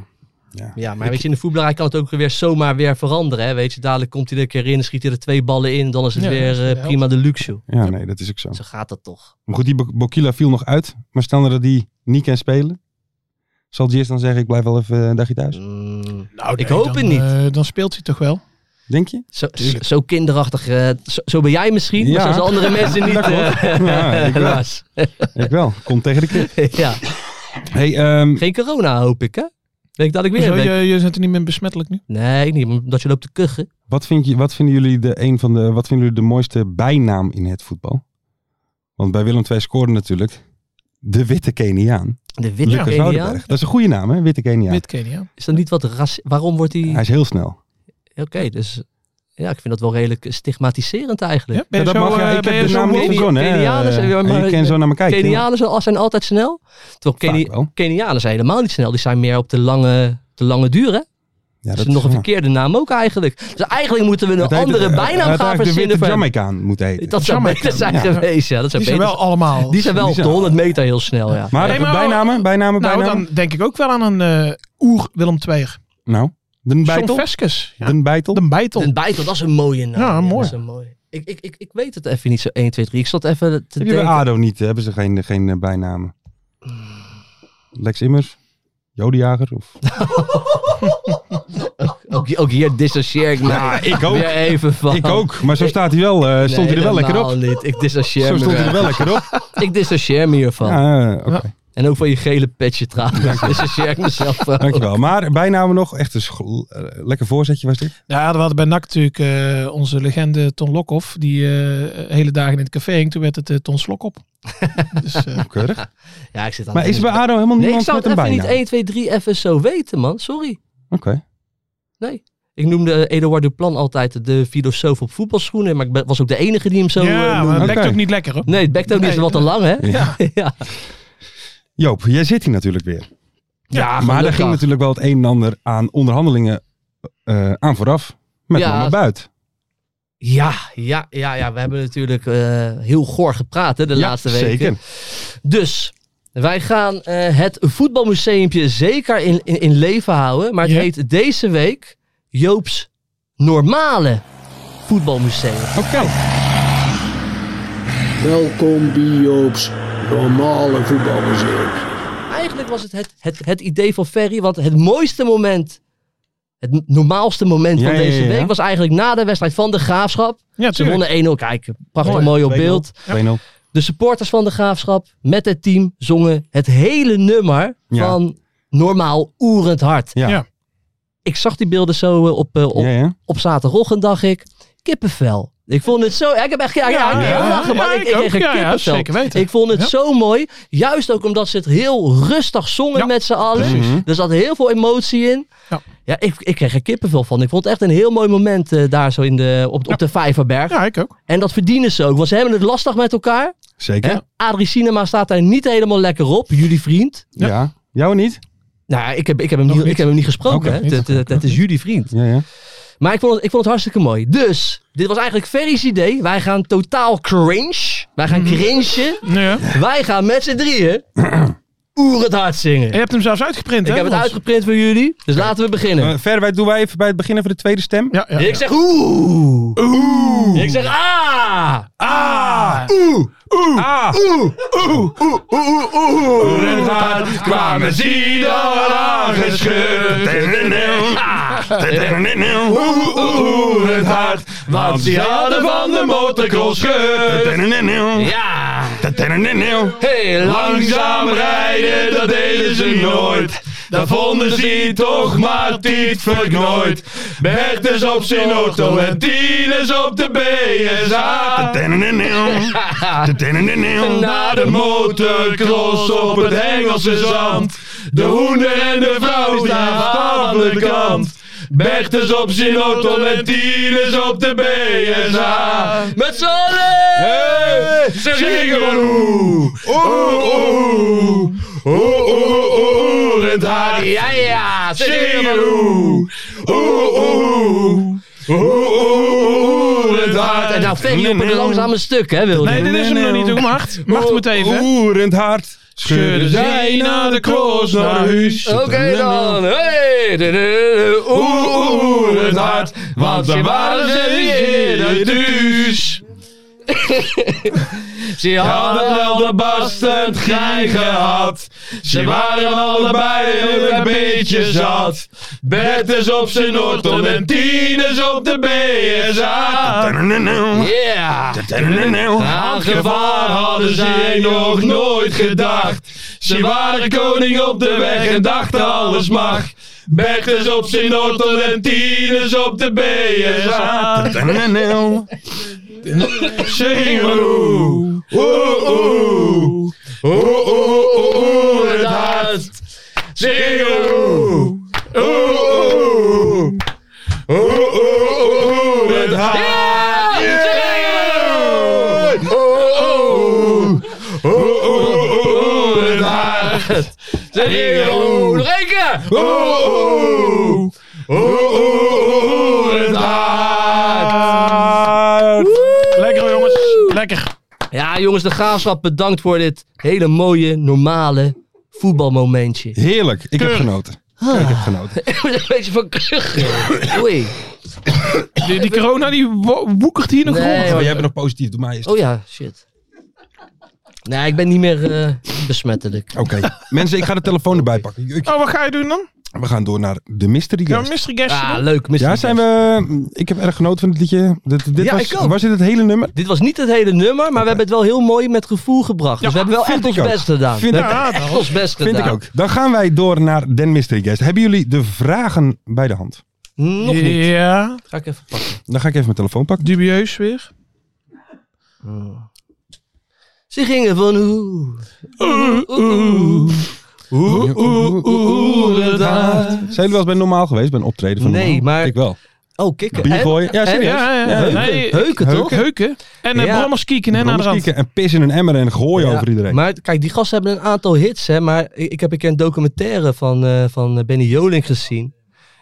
S4: Ja.
S5: Ja, maar weet je, in de voetballerij kan het ook weer zomaar weer veranderen. Hè? Weet je, dadelijk komt hij er een keer in, schiet hij er twee ballen in. Dan is het
S6: Ja, dat
S5: weer
S6: is
S5: eh,
S6: de helft.
S5: prima de luxe. joh.
S4: ja, nee, dat is ook zo.
S5: Zo gaat dat toch.
S4: Maar goed, die Bo- Bokila viel nog uit, maar stel nou dat die niet kan spelen, zal Jis dan zeggen ik blijf wel even eh, een dagje thuis?
S5: Mm.
S6: Nou,
S5: Ik hoop
S6: dan,
S5: het niet.
S6: eh, dan speelt hij toch wel.
S4: Denk je?
S5: Zo, zo kinderachtig. eh, zo, zo ben jij misschien,
S4: Ja.
S5: maar zo zijn andere mensen niet.
S4: Dat klopt.
S5: eh,
S4: Ja, ik wel.
S5: helaas.
S4: Ik wel. Kom tegen de kip.
S5: ja.
S4: Hey, ehm,
S5: Geen corona hoop ik, hè? Denk dat ik weer
S6: Hoezo,
S5: een week-
S6: je, je bent er niet meer besmettelijk nu.
S5: Nee, niet omdat je loopt te kuchen.
S4: wat, vind je, wat vinden jullie de een van de, wat vinden jullie de mooiste bijnaam in het voetbal? Want bij Willem II scoorde natuurlijk de witte Keniaan.
S5: De witte
S4: Lucas
S5: Keniaan.
S4: Woudenberg. Dat is een goede naam, hè? Witte Keniaan.
S6: Wit Kenia.
S5: Is dat niet wat raci- Waarom wordt hij...
S4: Hij is heel snel.
S5: Oké, dus ja, ik vind dat wel redelijk stigmatiserend
S6: Ja,
S5: eigenlijk.
S6: ben je
S4: dat
S6: zo,
S4: mag, ja,
S6: eh,
S4: ik
S6: ben
S4: heb
S6: je
S4: de
S6: zo
S4: naam niet
S6: woke?
S5: Kenia-
S4: verzonnen. hè.
S5: Kenianen zijn- ja, maar-
S4: Ik ken zo naar me kijken.
S5: Kenianen zijn- zijn altijd snel. Terwijl Keni-
S4: Vaak oh. wel.
S5: Kenianen zijn helemaal niet snel. Die zijn meer op de lange, de lange duur, hè?
S4: Ja,
S5: dat is nog een verkeerde naam ook eigenlijk. Dus eigenlijk moeten we een
S4: Het heet-
S5: andere
S4: het-
S5: bijnaam
S4: het
S5: gaan
S4: heet de
S5: verzinnen.
S4: witte
S5: voor hem.
S4: Jamaicaan moet heten.
S5: Dat zou
S6: Jamaica.
S5: beter zijn
S4: Ja.
S5: geweest, ja. Dat zou
S6: Die zijn
S5: beter
S6: wel allemaal...
S5: die zijn wel
S4: die
S5: op de
S4: zijn-
S5: 100 meter heel snel, ja.
S4: maar,
S6: Nee, maar-
S4: bijnamen, bijnamen,
S6: Nou,
S4: bijnamen.
S6: dan denk ik ook wel aan een eh, oer Willem II'er.
S4: Nou, Den
S6: John
S4: Beitel.
S6: Veskes. Ja.
S4: Den Beitel.
S6: Den Beitel.
S5: Een bijtel, dat is een mooie naam.
S6: Ja, mooi.
S5: dat is een mooie. Ik, ik, ik, ik weet het even niet zo 1, 2, 3. Ik zat even te
S4: Heb je bij
S5: denken.
S4: ADO niet, eh, hebben ze geen, geen eh, bijnamen? Lex Immers? Jodejager? Of...
S5: Ook, ook hier dissocieer ik me
S4: Ja, ik ook.
S5: weer even van. nou,
S4: Ik ook, maar zo staat hij wel, eh, stond hij er wel lekker op.
S5: Niet. Ik dissocieer
S4: Zo
S5: me
S4: stond hij er
S5: weer.
S4: wel lekker op.
S5: Ik dissocieer me hiervan.
S4: Ja, eh, oké.
S5: En ook van je gele petje trouwens. Dissocieer ik mezelf ook.
S4: Dankjewel. Maar bijnamen nog, echt een scho- eh, lekker voorzetje was dit.
S6: Ja, we hadden bij NAC natuurlijk eh, onze legende Ton Lokhoff. Die eh, hele dagen in het café hing. Toen werd het eh, Ton Slokop. dus, eh,
S4: Keurig.
S5: Ja, ik zit aan
S4: Maar
S5: het
S4: is bij ADO helemaal
S5: Ah, Nee, ik
S4: niemand
S5: zou
S4: met
S5: het
S4: een
S5: even
S4: bijnaam?
S5: niet 1, 2, 3 even zo weten, man. Sorry.
S4: Oké.
S5: Ik noemde Eduard Duplan altijd de filosoof op voetbalschoenen. Maar ik ben- was ook de enige die hem zo eh,
S6: ja,
S5: noemde.
S6: maar het
S4: Oké.
S6: lekt ook niet lekker hoor.
S5: Nee, het bekt ook niet
S6: Nee.
S5: wat te lang, hè?
S4: Ja.
S5: ja.
S4: Joop, jij zit hier natuurlijk weer.
S5: Ja,
S4: maar daar
S5: gelukkig.
S4: ging natuurlijk wel het een en ander aan onderhandelingen eh, aan vooraf. Met
S5: Ja.
S4: ja. buiten.
S5: Ja, ja, ja, ja. We hebben natuurlijk eh, heel goor gepraat hè, de laatste weken.
S4: Zeker.
S5: Dus wij gaan eh, het voetbalmuseumpje zeker in, in, in leven houden. Maar het
S6: Ja.
S5: heet deze week Joop's Normale Voetbalmuseum.
S4: Oké.
S7: Welkom bij Joop's normale voetbalmuseum.
S5: Eigenlijk was het het, het het idee van Ferry. Want het mooiste moment, het n- normaalste moment
S4: Ja,
S5: van
S4: ja,
S5: deze
S4: ja, ja.
S5: week... was eigenlijk na de wedstrijd van de Graafschap.
S6: Ja,
S5: Ze
S6: tuurlijk.
S5: wonnen 1-0. Kijk, prachtig
S4: Mooi.
S5: mooi op
S4: 2-0.
S5: beeld.
S4: 2-0.
S5: De supporters van de Graafschap met het team zongen het hele nummer
S4: Ja.
S5: van Normaal Oerend Hart.
S4: Ja. Ja.
S6: Ja.
S5: Ik zag die beelden zo eh, op, eh, op,
S4: Ja, ja.
S5: op zaterdagochtend, dacht ik. Kippenvel. Ik vond het zo... ja, Ik heb echt... Ja, ja, ik heb
S6: ja,
S5: lachen, maar
S6: ja,
S5: ik,
S6: ik
S5: ik kreeg
S6: ook.
S5: een
S6: Ja, ja,
S5: kippenvel.
S6: zeker weten.
S5: Ik vond het
S6: Ja.
S5: zo mooi. Juist ook omdat ze het heel rustig zongen
S6: Ja,
S5: met z'n allen. Mhm. Er zat heel veel emotie in.
S6: Ja.
S5: Ja, ik, ik kreeg er kippenvel van. Ik vond het echt een heel mooi moment eh, daar zo in de, op, op de Vijverberg.
S6: Ja, ik ook.
S5: En dat verdienen ze ook. Want ze hebben het lastig met elkaar.
S4: Zeker.
S5: Hè? Adrie Cinema staat daar niet helemaal lekker op, jullie vriend.
S4: Ja. Jou niet?
S5: Nou, ik heb, ik heb, hem, niet,
S6: niet.
S5: ik heb hem niet gesproken.
S4: Oké,
S5: hè.
S4: niet.
S5: Dat, dat, dat is jullie vriend.
S4: Ja, ja.
S5: Maar ik vond, het, ik vond het hartstikke mooi. Dus, dit was eigenlijk Ferry's idee. Wij gaan totaal cringe. Wij
S3: Mm.
S5: gaan cringen.
S6: Ja.
S5: Wij gaan met z'n drieën oer het hart zingen.
S6: En je hebt hem zelfs uitgeprint
S5: Ik
S6: hè?
S5: heb het
S6: ons?
S5: uitgeprint voor jullie. Dus laten we beginnen.
S4: Eh, verder wij- doen wij even bij het begin even de tweede stem.
S6: Ja, ja.
S5: Ik zeg oeh. Ik zeg ah.
S6: Ah!
S4: Ah,
S6: kwamen zien al Ah. aangeschud.
S3: het hart, want ze hadden van de motocross gehoord.
S5: Ja. Hey,
S3: Langzaam rijden, dat deden ze nooit. Dat vonden ze toch maar tietverd nooit. Bert is op zijn auto en Tien "Oh, is op de BSA. Naar de motocross op het Engelse zand. De hoender en de vrouw staan aan de kant. Bert is op zijn auto en Tien is op de BSA.
S5: Met z'n allen!
S3: Zingen Oeh, oeh, oeh, oeh, het haar.
S5: Ja, ja!
S3: Zingen oeh, oeh, oeh, oeh, het haar.
S5: En nou, Ferry op een langzame stuk, hè, wil je?
S6: Nee, dit is hem nog niet. Doe hem hard. Macht hem meteen even.
S4: Oerend hart.
S6: Schudden zij naar de cross naar huis.
S5: Oké dan. Hey! du- du- du- Oeh, oeh, oeh, het hart. Want ze waren ze eerder thuis. Ze hadden wel de bastend gein gehad. Ze waren allebei een beetje zat. Bert is op zijn Norton en Tien is op de BSA. Yeah! Aan gevaar hadden zij nog nooit gedacht. Ze waren koning op de weg en dachten alles mag. Bertus op zijn Noordel en Tieners op de BSA.
S6: Ze gingen oeh. Oeh, oeh.
S3: Oeh, oeh, oeh, oeh, het haar.
S5: Zingen!
S3: Oeh, oeh, oeh, oeh, het haar. Oeh, oeh, oeh, oeh, oeh, het haar.
S5: Nog één keer!
S3: Oeh, oeh, oeh, oeh, oeh, het haar.
S6: Lekker jongens. Lekker.
S5: Ja, jongens, de graafschap bedankt voor dit hele mooie, normale voetbalmomentje.
S4: Heerlijk. Ik heb genoten. Ik heb genoten.
S5: Ik word een beetje van kuchen. Oei.
S6: Die, die corona die wo- woekert hier nog
S5: Nee,
S6: rond.
S5: hoor.
S4: Oh, jij bent nog positief. Doe mij eens.
S5: Oh ja, shit. Nee, ik ben niet meer eh, besmettelijk. Oh,
S4: Oké. Mensen, ik ga de telefoon erbij pakken. Ik-
S6: Oh, wat ga je doen dan?
S4: We gaan door naar de mystery
S6: Ja,
S4: guest.
S6: Mr. Guest.
S5: Ah,
S6: doen?
S5: leuk. Mr.
S4: Ja, zijn we... Ik heb erg genoten van dit liedje. Dit, dit
S5: Ja,
S4: was,
S5: ik ook.
S4: was dit het hele nummer?
S5: Dit was niet het hele nummer, maar we hebben het wel heel mooi met gevoel gebracht. dus we hebben wel
S4: vind
S5: echt ons
S4: ik ook.
S5: best gedaan.
S4: Vind
S5: we
S4: ik
S5: hebben echt ons best
S4: Vind
S5: gedaan.
S4: ik ook. Dan gaan wij door naar Den Mystery Guest. Hebben jullie de vragen bij de hand?
S5: Nog niet.
S6: Ja,
S5: Ga ik even pakken.
S4: Dan ga ik even mijn telefoon pakken.
S6: dubieus weer.
S5: Ze gingen van hoe.
S4: Oeh, oeh,
S6: oeh, daar.
S4: Zijn jullie wel eens bij normaal geweest, bij een optreden van
S5: Nee,
S4: normaal?
S5: maar-
S4: Ik wel.
S5: Oh, kikken.
S4: B-boy. Ja,
S5: En-
S4: serieus.
S6: Ja, ja, ja.
S4: Heuken.
S6: Nee,
S5: Heuken, toch?
S6: Heuken. En eh
S5: Ja.
S6: brommers kieken hè, naar de
S4: Brommers
S6: rand.
S4: kieken en pis in een emmer en gooien
S5: Ja,
S4: over iedereen.
S5: Maar kijk, die gasten hebben een aantal hits, hè. Maar ik, ik heb een keer een documentaire van, eh, van eh, Benny Joling gezien.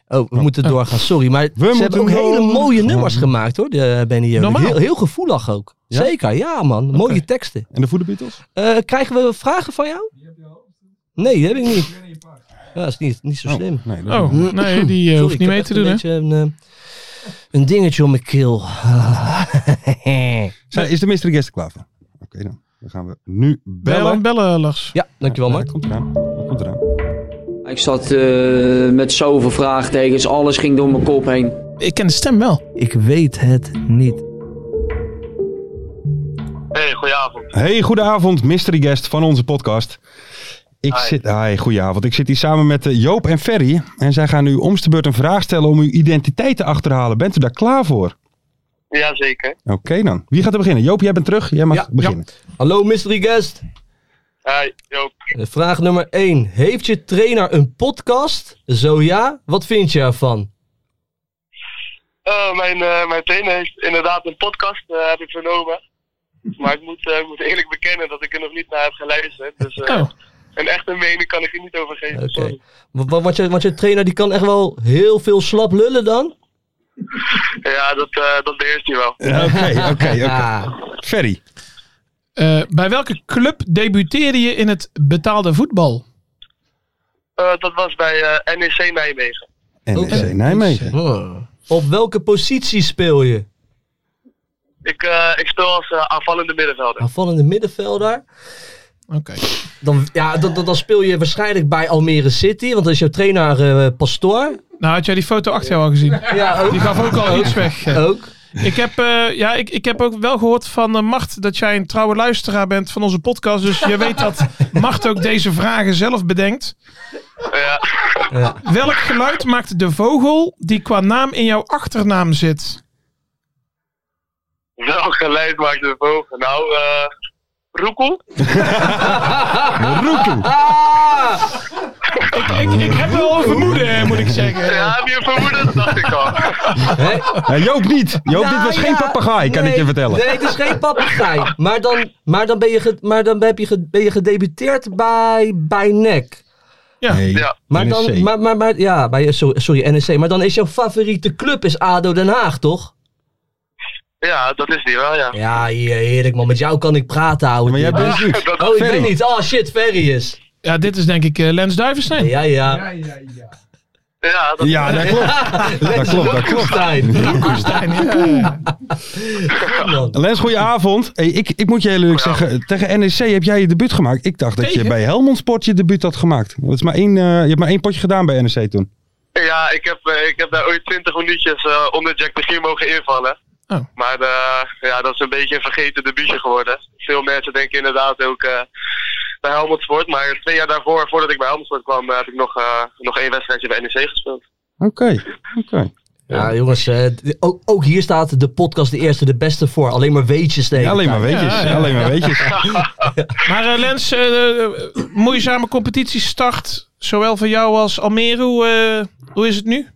S5: Oh, we moeten doorgaan, sorry. Maar ze hebben
S4: moeten
S5: ook hele
S4: door.
S5: mooie nummers gemaakt, hoor, de, eh, Benny Joling.
S6: Normaal.
S5: Heel, heel gevoelig ook.
S4: Ja?
S5: Zeker, ja man. Mooie teksten.
S4: En de voederbeatles?
S5: Eh, krijgen we vragen van jou? Nee, die heb ik niet. Ja, dat is niet, niet zo slim.
S4: Nee, dat
S6: Oh, nee, die eh,
S5: Sorry,
S6: hoeft
S5: ik
S6: niet
S5: heb
S6: mee
S5: echt
S6: te doen,
S5: een
S6: hè?
S5: beetje Een, eh, een dingetje om mijn keel.
S4: Zijn- Is de mystery guest er klaar voor? Oké dan. Dan gaan we nu bellen.
S6: Bellen, bellen, Lars.
S5: ja, dankjewel
S4: Ja,
S5: Mark.
S4: dat komt eraan. Dat komt eraan.
S8: Ik zat eh, met zoveel vraagtekens, alles ging door mijn kop heen.
S6: Ik ken de stem wel.
S5: Ik weet het niet.
S9: Hey, goedenavond.
S4: Hey, goedenavond, mystery guest van onze podcast. Ik zit, hi, goedenavond. Ik zit hier samen met eh, Joop en Ferry. En zij gaan u omste beurt een vraag stellen om uw identiteit te achterhalen. Bent u daar klaar voor?
S9: Jazeker.
S4: Oké dan. Wie gaat er beginnen? Joop, jij bent terug. Jij mag
S5: Ja,
S4: beginnen.
S5: Hallo mystery guest.
S9: Hi, Joop.
S5: Eh, Vraag nummer 1. Heeft je trainer een podcast? Zo ja, wat vind je ervan?
S9: Eh, mijn, eh, mijn trainer heeft inderdaad een podcast, eh, heb ik vernomen. Maar ik moet, eh, ik moet eerlijk bekennen dat ik er nog niet naar heb geluisterd. Dus eh,
S6: Oh.
S9: een echte mening kan ik er niet over geven.
S5: Oké.
S9: sorry.
S5: Wa- wa- Want, je, want je trainer die kan echt wel heel veel slap lullen dan?
S9: Ja, dat, eh, dat beheerst hij wel.
S4: Oké, oké, oké.
S5: Ah,
S4: eh, Ferry.
S6: Eh, bij welke club debuteerde je in het betaalde voetbal?
S9: Eh, dat was bij eh, NEC Nijmegen.
S4: NEC
S5: Oké.
S4: eh, Nijmegen.
S5: hmm. Op welke positie speel je?
S9: Ik, eh, ik speel als eh, aanvallende middenvelder.
S5: Aanvallende middenvelder.
S6: Oké.
S5: Dan, ja, dan, dan, dan speel je waarschijnlijk bij Almere City, want dan is jouw trainer eh, Pastoor.
S6: Nou, had jij die foto achter jou al gezien?
S5: Ja, ook.
S6: Die gaf ook al iets weg. eh.
S5: ook.
S6: Ik heb, eh, ja, ik, ik heb ook wel gehoord van eh, Mart dat jij een trouwe luisteraar bent van onze podcast. Dus je weet dat Mart ook deze vragen zelf bedenkt.
S9: Ja.
S6: Welk geluid maakt de vogel die qua naam in jouw achternaam zit?
S9: Welk geluid maakt de vogel? Nou, eh roekel?
S4: Eh,
S6: Ik, ik heb wel een vermoeden, eh, moet ik zeggen.
S9: Ja, heb je een vermoeden? Dat dacht ik al.
S5: Hè?
S4: Ja, Eh, Joop niet. Joop, dit
S5: Nou,
S4: was geen
S5: ja,
S4: papegaai, kan ik
S5: nee,
S4: je vertellen.
S5: Nee, het is geen papegaai. Maar dan, maar dan, ben, je ge- maar dan heb je ge- ben je gedebuteerd bij, bij NEC.
S4: Nee,
S9: Ja.
S5: Maar
S4: NEC.
S5: dan, maar, maar, maar, ja, bij, sorry, sorry, NEC. Maar dan is jouw favoriete club is ADO Den Haag, toch?
S9: Ja, dat is die wel, ja.
S5: Ja, hier, heerlijk man. Met jou kan ik praten, ouwe.
S4: Maar jij bent dus niet.
S9: Dat,
S5: Oh, ik
S4: Ferry.
S5: ben niet. Oh shit, Ferry is.
S6: Ja, dit is denk ik eh, Lens Duivenstein.
S5: Ja, ja.
S9: ja, dat,
S4: Ja, dat klopt. Dat klopt, dat klopt.
S5: Stijn.
S6: Roekelstein, ja.
S5: Goed, man.
S4: Lens, goedenavond. Hey, ik, ik moet je heel eerlijk zeggen, tegen NEC heb jij je debuut gemaakt. Ik dacht dat je
S6: Tegen?
S4: bij Helmond Sport je debuut had gemaakt. Dat is maar één, eh, je hebt maar één potje gedaan bij NEC toen.
S9: Ja, ik heb, eh, ik heb daar ooit 20 minuutjes eh, onder Jack de Gier mogen invallen.
S6: Oh.
S9: Maar eh, ja, dat is een beetje een vergeten debuutje geworden. Veel mensen denken inderdaad ook eh, bij Helmond Sport. Maar twee jaar daarvoor, voordat ik bij Helmond Sport kwam, eh, heb ik nog, eh, nog één wedstrijdje bij NEC gespeeld.
S4: Oké, oké.
S5: Ja, jongens, eh, d- ook, ook hier staat de podcast de eerste, de beste voor. Alleen maar weetjes tegen.
S4: Ja, alleen maar weetjes,
S6: Ja, ja.
S4: alleen maar weetjes.
S6: Maar eh, Lens, eh, eh, moeizame competitie start. Zowel voor jou als Almere. Hoe, eh, hoe is het nu?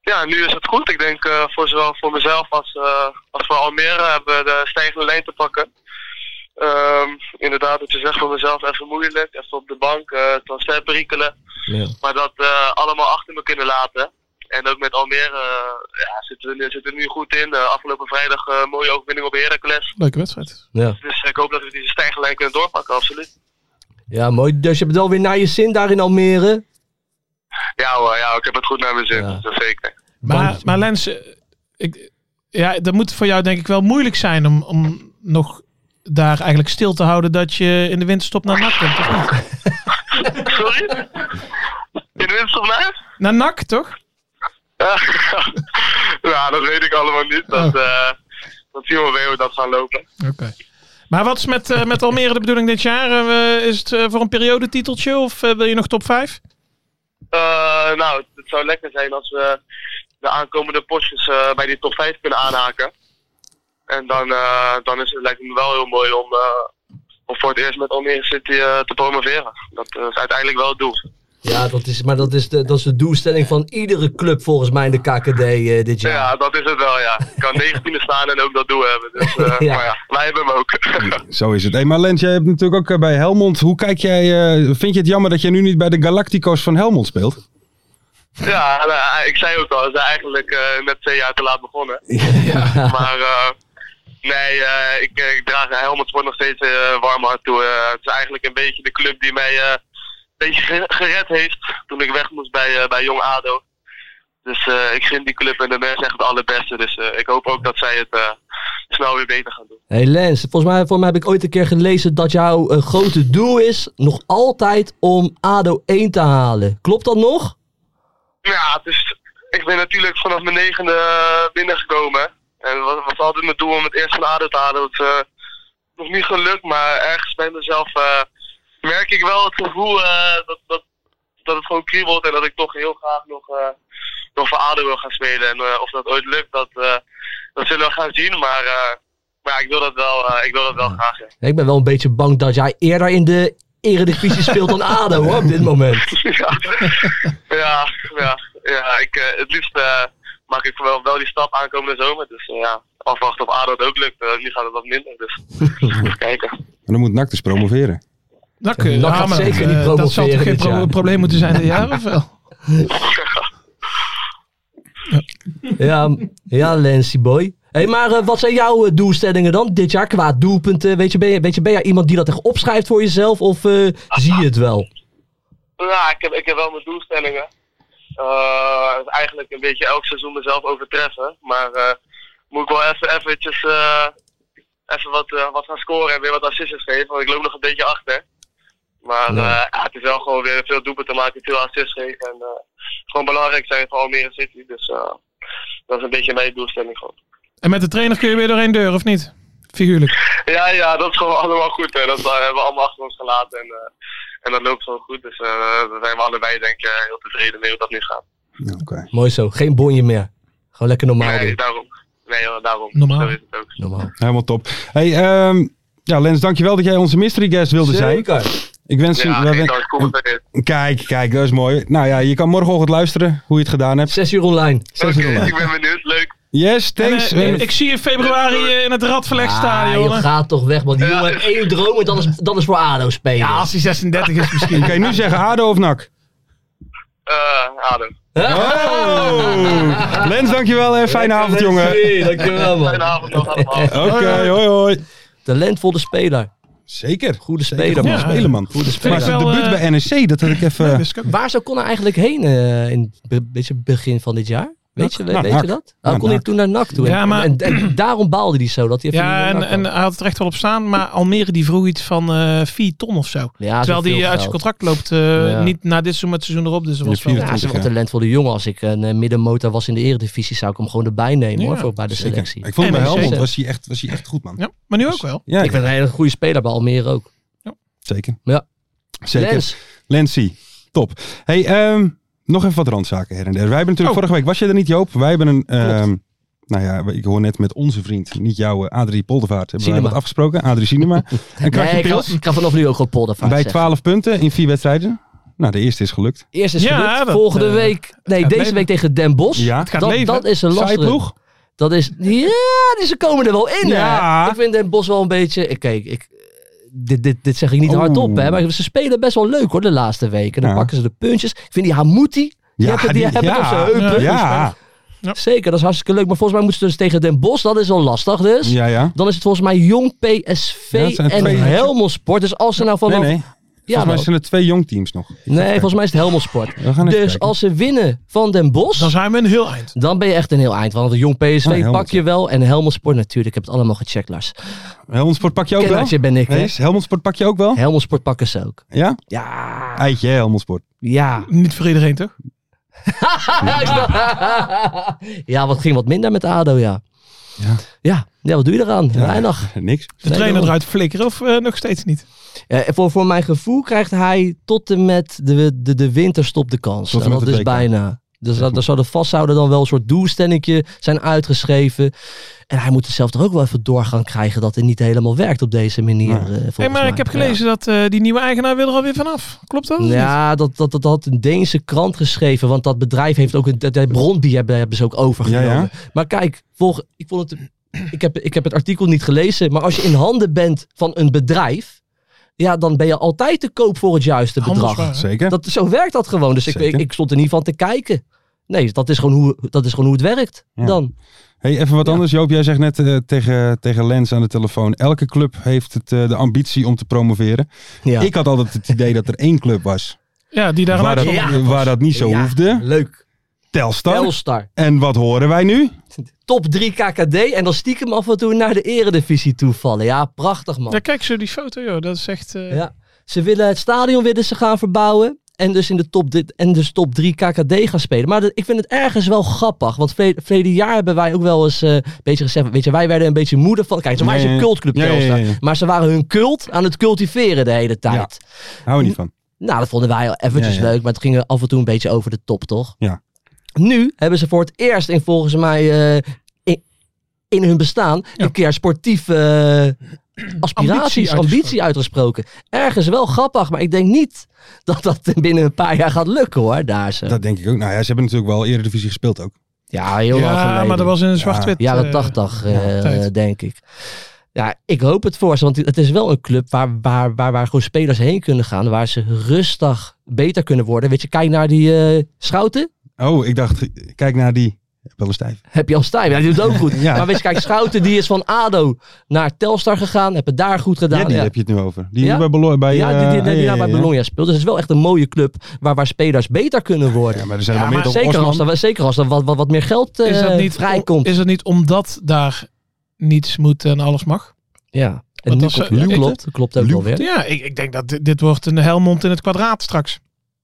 S9: Ja, nu is het goed. Ik denk eh, voor zowel voor mezelf als, eh, als voor Almere hebben we de stijgende lijn te pakken. Ehm, inderdaad, wat je zegt voor mezelf even moeilijk. Even op de bank, eh transferperikelen.
S5: Ja.
S9: Maar dat eh, allemaal achter me kunnen laten. En ook met Almere eh, ja, zitten, we nu, zitten we nu goed in. Eh, afgelopen vrijdag eh, mooie overwinning op Heracles.
S6: Leuke wedstrijd.
S5: Ja.
S9: Dus ik hoop dat we deze stijgerlijn kunnen doorpakken, absoluut.
S5: ja, mooi. Dus je hebt het alweer naar je zin daar in Almere.
S9: Ja hoor, ja, ik heb het goed naar mijn zin.
S5: Ja.
S9: Dat zeker.
S6: Maar,
S5: Want-
S6: maar Lens, eh, ik, ja, dat moet voor jou denk ik wel moeilijk zijn om, om nog daar eigenlijk stil te houden dat je in de winterstop naar NAC komt, of niet?
S9: Sorry? In de volgens mij.
S6: Naar NAC, toch?
S9: Ja, ja, dat weet ik allemaal niet. Dat, eh, dat zien we weer hoe dat gaan lopen.
S6: Oké. Maar wat is met, eh, met Almere de bedoeling dit jaar? Eh, is het eh, voor een periodetiteltje of eh, wil je nog top 5?
S9: Eh, nou, het zou lekker zijn als we de aankomende potjes eh, bij die top 5 kunnen aanhaken. En dan, eh, dan is het, lijkt het me wel heel mooi om, eh, om voor het eerst met Almere City eh, te promoveren. Dat eh, is uiteindelijk wel het doel.
S5: Ja, dat is, maar dat is, de, dat is de doelstelling van iedere club volgens mij in de KKD eh, dit
S9: Ja,
S5: jaar.
S9: dat is het wel, ja. Ik kan 19e staan en ook dat doel hebben. Dus, eh,
S5: Ja.
S9: Maar ja, wij hebben hem ook.
S4: Zo is het. Hey, maar Lens, jij hebt natuurlijk ook eh, bij Helmond. Hoe kijk jij, eh, vind je het jammer dat jij nu niet bij de Galactico's van Helmond speelt?
S9: Ja, nou, ik zei ook al, we zijn eigenlijk eh, net twee jaar te laat begonnen. Maar eh, nee, eh, ik, eh, ik draag Helmond Sport nog steeds eh, warm hart toe. Eh, het is eigenlijk een beetje de club die mij eh, een beetje ge- gered heeft toen ik weg moest bij, eh, bij Jong ADO. Dus eh, ik gun die club en de mensen echt het allerbeste. Dus eh, ik hoop ook dat zij het eh, snel weer beter gaan doen.
S5: Hey Lens, volgens mij, volgens mij heb ik ooit een keer gelezen dat jouw eh, grote doel is nog altijd om ADO 1 te halen. Klopt dat nog?
S9: Ja, dus ik ben natuurlijk vanaf mijn negende eh, binnengekomen. En het was, was altijd mijn doel om het eerst van ADO te halen. Dat is eh, nog niet gelukt, maar ergens bij mezelf eh, merk ik wel het gevoel eh, dat, dat, dat het gewoon kriebelt. En dat ik toch heel graag nog, eh, nog voor ADO wil gaan spelen. En eh, of dat ooit lukt, dat, eh, dat zullen we gaan zien. Maar, eh, maar ja, ik wil dat wel, eh, ik wil dat wel graag. Ja.
S5: Ik ben wel een beetje bang dat jij eerder in de eredivisie speelt dan ADO hoor, op dit moment.
S9: ja, ja, ja, ja ik, eh, het liefst eh, maak ik wel, wel die stap aankomende zomer. Dus eh, ja, afwachten of ADO het ook lukt. Eh, nu gaat het wat minder, dus even kijken.
S4: En dan moet NAC dus promoveren.
S6: NAC, eh,
S5: NAC gaat
S6: Hamer,
S5: zeker
S6: eh,
S5: niet
S6: Dat zal toch
S5: promoveren
S6: geen
S5: dit
S6: pro-
S5: jaar?
S6: probleem moeten zijn dit jaar, of wel?
S5: Ja, ja Lensy boy. Hey, maar eh, wat zijn jouw eh, doelstellingen dan dit jaar qua doelpunten? Weet je, ben, je, weet je, ben jij iemand die dat echt opschrijft voor jezelf of eh, zie je het wel?
S9: Ja, ik heb, ik heb wel mijn doelstellingen. Eh, eigenlijk een beetje elk seizoen mezelf overtreffen. Maar eh, moet ik wel even, eventjes, eh, even wat, eh, wat gaan scoren en weer wat assists geven. Want ik loop nog een beetje achter. Maar eh, ja, het is wel gewoon weer veel doelpunten maken, veel assists geven. En eh, gewoon belangrijk zijn voor Almere City. Dus eh, dat is een beetje mijn doelstelling gewoon.
S6: En met de trainer kun je weer door één deur, of niet? Figuurlijk.
S9: Ja, ja, dat is gewoon allemaal goed. Hè. Dat eh, hebben we allemaal achter ons gelaten. En, eh, en dat loopt gewoon goed. Dus eh, daar zijn we allebei denk ik eh, heel tevreden mee hoe dat nu gaat.
S4: Oké.
S5: Mooi zo, geen bonje meer. Gewoon lekker normaal
S9: Nee,
S5: doen.
S9: daarom. Nee, joh, daarom.
S6: Normaal.
S9: Zo is het ook.
S5: Normaal.
S4: Helemaal top. Hey, ehm, ja, Lens, dankjewel dat jij onze mystery guest wilde zijn. Ik wens je...
S9: Ja,
S4: wij
S9: ik
S4: wen-
S9: kan het commentaar.
S4: Kijk, kijk, dat is mooi. Nou ja, je kan morgenochtend luisteren hoe je het gedaan hebt.
S5: Zes uur online.
S4: Zes uur
S9: Oké,
S4: lang.
S9: Ik ben benieuwd. Leuk.
S4: Yes,
S6: En,
S4: thanks.
S6: eh,
S4: En-
S6: ik zie je in februari eh, in het
S5: Ah,
S6: Radverlegstadion.
S5: joh,
S6: hè?
S5: ga toch weg, man. Die
S9: Ja.
S5: jongen heeft één droom en dat is, dat is voor ADO spelen.
S6: ja, als hij 36 is misschien.
S4: Kan je nu zeggen ADO of NAC?
S9: Eh Adem.
S4: Oh! Lens, dankjewel en fijne avond, jongen.
S5: Hey, dankjewel,
S9: Fijne
S5: man.
S9: avond nog allemaal.
S4: Oké, hoi hoi.
S5: Talentvolle speler.
S4: Zeker.
S5: Goede
S4: Zeker
S5: speler,
S4: goede
S5: man.
S6: Ja.
S4: speler, man.
S5: Goede
S4: Maar
S5: speler.
S4: zijn
S6: Vind ik wel,
S4: debuut
S6: eh,
S4: bij NEC, dat had ik even...
S6: Wist ik ook niet.
S5: Waar zou kon hij eigenlijk heen eh, in het be- beetje begin van dit jaar? Weet je, weet,
S4: Naar
S5: weet
S4: NAC.
S5: je dat?
S4: Naar
S5: Hij kon hij
S4: NAC.
S5: toen naar NAC toe.
S6: Ja,
S5: En-
S6: maar-
S5: en, en daarom baalde hij zo. Dat hij even
S6: Ja,
S5: niet
S6: en,
S5: naar NAC
S6: en
S5: kwam.
S6: hij had het recht wel op staan, maar Almere die vroeg iets van eh 4 ton of zo.
S5: ja,
S6: Terwijl
S5: zoveel
S6: die eh, uit
S5: geld.
S6: zijn contract loopt, eh,
S5: Ja.
S6: niet na dit seizoen, maar het seizoen erop. Dus dat
S4: Ja,
S6: was wel...
S4: vier-
S5: Ja, hij is een
S4: Ja.
S5: talentvolle jongen. Als ik een eh, middenmotor was in de eredivisie, zou ik hem gewoon erbij nemen
S6: Ja,
S5: hoor, voor bij de
S4: Zeker.
S5: selectie.
S4: Ik vond hem bij
S6: NEC.
S4: Helmond was hij echt, was hij echt goed, man.
S6: Ja, maar nu ook wel.
S4: Ja,
S5: Ik vind een hele goede speler bij Almere ook.
S4: zeker.
S5: Ja.
S4: Zeker.
S5: Lens,
S4: Lensie, top. Hey, ehm, nog even wat randzaken her en der. Wij hebben natuurlijk
S6: Oh.
S4: vorige week, was je er niet Joop? Wij hebben een, ehm, nou ja, ik hoor net met onze vriend, niet jouw eh, Adrie Poldervaart, hebben
S5: Cinema.
S4: wij wat afgesproken. Adrie Cinema. een kratje
S5: nee, ik, ga,
S4: pils
S5: ik ga vanaf nu ook gewoon poldervaart
S4: bij
S5: zeggen.
S4: 12 punten in vier wedstrijden. Nou, de eerste is gelukt.
S5: Eerst is
S6: Ja,
S5: gelukt.
S6: dat,
S5: Volgende
S6: eh,
S5: week. Nee,
S6: gaat
S5: deze
S6: leven.
S5: week tegen Den Bosch.
S4: Ja. Het
S6: gaat
S5: dat,
S6: leven.
S5: dat is een
S4: Saai
S5: lastige.
S4: ploeg.
S5: Dat is. Ja, die- ze komen er wel in. hè.
S4: Ja.
S5: Ik vind Den Bosch wel een beetje. eh, Kijk, ik, dit, dit, dit zeg ik niet
S4: Oeh.
S5: hardop, hè, maar ze spelen best wel leuk hoor de laatste weken. Dan
S4: Ja.
S5: pakken ze de puntjes. Ik vind die Hamouti.
S4: Ja,
S5: Die hebben die,
S4: die-
S5: hebben het
S4: ja.
S5: op zijn heupen.
S4: Ja,
S5: Zeker, dat is hartstikke leuk. Maar volgens mij moeten ze dus tegen Den Bosch. Dat is al lastig dus.
S4: ja, ja.
S5: Dan is het volgens mij Jong PSV
S4: Ja, het zijn
S5: en
S4: twee-
S5: Helmond Sport. Dus als ze nou vanaf
S4: Nee, nee.
S5: Ja,
S4: Volgens mij
S5: wel.
S4: zijn er twee jong teams nog.
S5: Nee, volgens mij is het Helmelsport.
S4: We gaan even
S5: Dus
S4: kijken.
S5: als ze winnen van Den Bosch,
S6: Dan zijn we een heel eind.
S5: dan ben je echt een heel eind. Want een jong
S4: Oh,
S5: PSV
S4: Helmond.
S5: pak je wel. En Helmelsport natuurlijk, ik heb het allemaal gecheckt, Lars.
S4: Helmond Sport pak je ook wel?
S5: Kennertje ben ik, hè?
S4: Nee, Helmond Sport pak je ook wel?
S5: Helmelsport pakken ze ook.
S4: Ja?
S5: Ja,
S4: Eitje, hè, Helmond Sport.
S5: ja.
S6: Niet voor iedereen, toch?
S5: ja, wat ging wat minder met ADO, ja.
S4: Ja.
S5: Ja, ja wat doe je eraan?
S4: Ja.
S5: Weinig.
S4: Niks.
S6: De
S5: Nee,
S6: trainer
S5: joh.
S6: eruit flikkeren of eh, nog steeds niet?
S5: Eh, voor, voor mijn gevoel krijgt hij tot en met de, de, de winterstop de kans.
S4: Tot en met
S5: dat
S4: de
S5: is
S4: WK.
S5: bijna. Dus dat, dat zou de vasthouden dan wel een soort doelstellingje zijn uitgeschreven. En hij moet er zelf toch ook wel even doorgang krijgen dat het niet helemaal werkt op deze manier.
S4: Nee.
S5: eh, volgens
S6: Hey, maar
S5: mij.
S6: ik heb gelezen dat eh, die nieuwe eigenaar wil er alweer vanaf. Klopt dat? of
S5: Ja, ja dat, dat, dat had een Deense krant geschreven. Want dat bedrijf heeft ook een dat- dat Brondby hebben, hebben ze ook overgenomen.
S4: Ja, ja.
S5: Maar kijk, volg, ik, vond het, ik, heb, ik heb het artikel niet gelezen. Maar als je in handen bent van een bedrijf. Ja, dan ben je altijd te koop voor het juiste bedrag.
S6: Handelswaar, hè?
S4: Zeker.
S5: Dat, zo werkt dat gewoon. Dus ik, ik,
S4: Zeker.
S5: ik stond er niet van te kijken. Nee, dat is gewoon hoe, dat is gewoon hoe het werkt
S4: Ja.
S5: dan.
S4: Hey, even wat
S5: Ja.
S4: anders. Joop, jij zegt net eh, tegen, tegen Lens aan de telefoon. Elke club heeft het, eh, de ambitie om te promoveren.
S5: Ja.
S4: Ik had altijd het idee dat er één club was.
S6: Ja, die daar een
S4: Waar dat,
S6: uitzondering op was.
S4: waar dat niet zo
S5: Ja,
S4: hoefde.
S5: Leuk.
S4: Telstar.
S5: Telstar.
S4: En wat horen wij nu?
S5: Top 3 KKD en dan stiekem af en toe naar de eredivisie toevallen. Ja, prachtig man.
S6: Ja, kijk zo die foto, joh. Dat is echt... eh,
S5: Ja. Ze willen het stadion willen ze gaan verbouwen. En dus in de top, dit, en dus top 3 KKD gaan spelen. Maar dat- ik vind het ergens wel grappig. Want vele- verleden jaar hebben wij ook wel eens eh, een beetje gezegd. Weet je, wij werden een beetje moeder van. Kijk, ze
S4: Ja,
S5: waren
S4: ja,
S5: een
S4: ja.
S5: cultclub
S4: Ja, ja, ja,
S5: Telstar.
S4: ja.
S5: Maar ze waren hun cult aan het cultiveren de hele tijd.
S4: Hou er niet van.
S5: Nou, dat vonden wij al eventjes
S4: Ja, ja.
S5: leuk. Maar het ging af en toe een beetje over de top, toch?
S4: Ja.
S5: Nu hebben ze voor het eerst in volgens mij eh, in, in hun bestaan een keer sportief eh, aspiraties, ambitie,
S6: uitgesproken.
S5: uitgesproken. Ergens wel grappig, maar ik denk niet dat dat binnen een paar jaar gaat lukken hoor, daar ze.
S4: Dat denk ik ook. Nou ja, ze hebben natuurlijk wel Eredivisie gespeeld ook.
S5: Ja, heel lang
S6: ja,
S5: geleden.
S6: maar dat was in een zwart-wit...
S5: Jaren
S6: eh,
S5: 80, eh,
S6: tijd.
S5: denk ik. Ja, ik hoop het voor ze, want het is wel een club waar, waar, waar, waar gewoon spelers heen kunnen gaan, waar ze rustig beter kunnen worden. Weet je, kijk naar die eh, Schouten.
S4: Oh, ik dacht, kijk naar die. Wel eens stijf.
S5: Heb je al stijf? Ja, die doet het ook goed.
S4: Ja.
S5: Maar weet je, kijk, Schouten die is van ADO naar Telstar gegaan, heb het daar goed gedaan.
S4: Ja, die
S5: ja.
S4: heb je het nu over. Die
S5: Ja?
S4: bij Bologna. Bij,
S5: Ja, die, die,
S4: eh,
S5: die, die
S4: ja,
S5: daar
S4: ja,
S5: bij
S4: ja.
S5: Bologna speelt. Dus het is wel echt een mooie club waar, waar spelers beter kunnen worden.
S4: Ja, maar er zijn
S6: Ja,
S4: nog
S6: maar
S4: meer toch
S5: zeker, als
S4: Osman?
S5: er, zeker als er wat, wat, wat meer geld eh
S6: Is dat niet,
S5: vrijkomt.
S6: Is dat niet omdat daar niets moet en alles mag?
S5: ja, en
S6: Want
S5: nu
S6: als
S5: klopt,
S6: ze-
S5: nu
S6: ja,
S5: klopt, klopt ook
S4: Luke-
S5: alweer.
S6: Ja, ik, ik denk dat dit, dit wordt een Helmond in het kwadraat straks.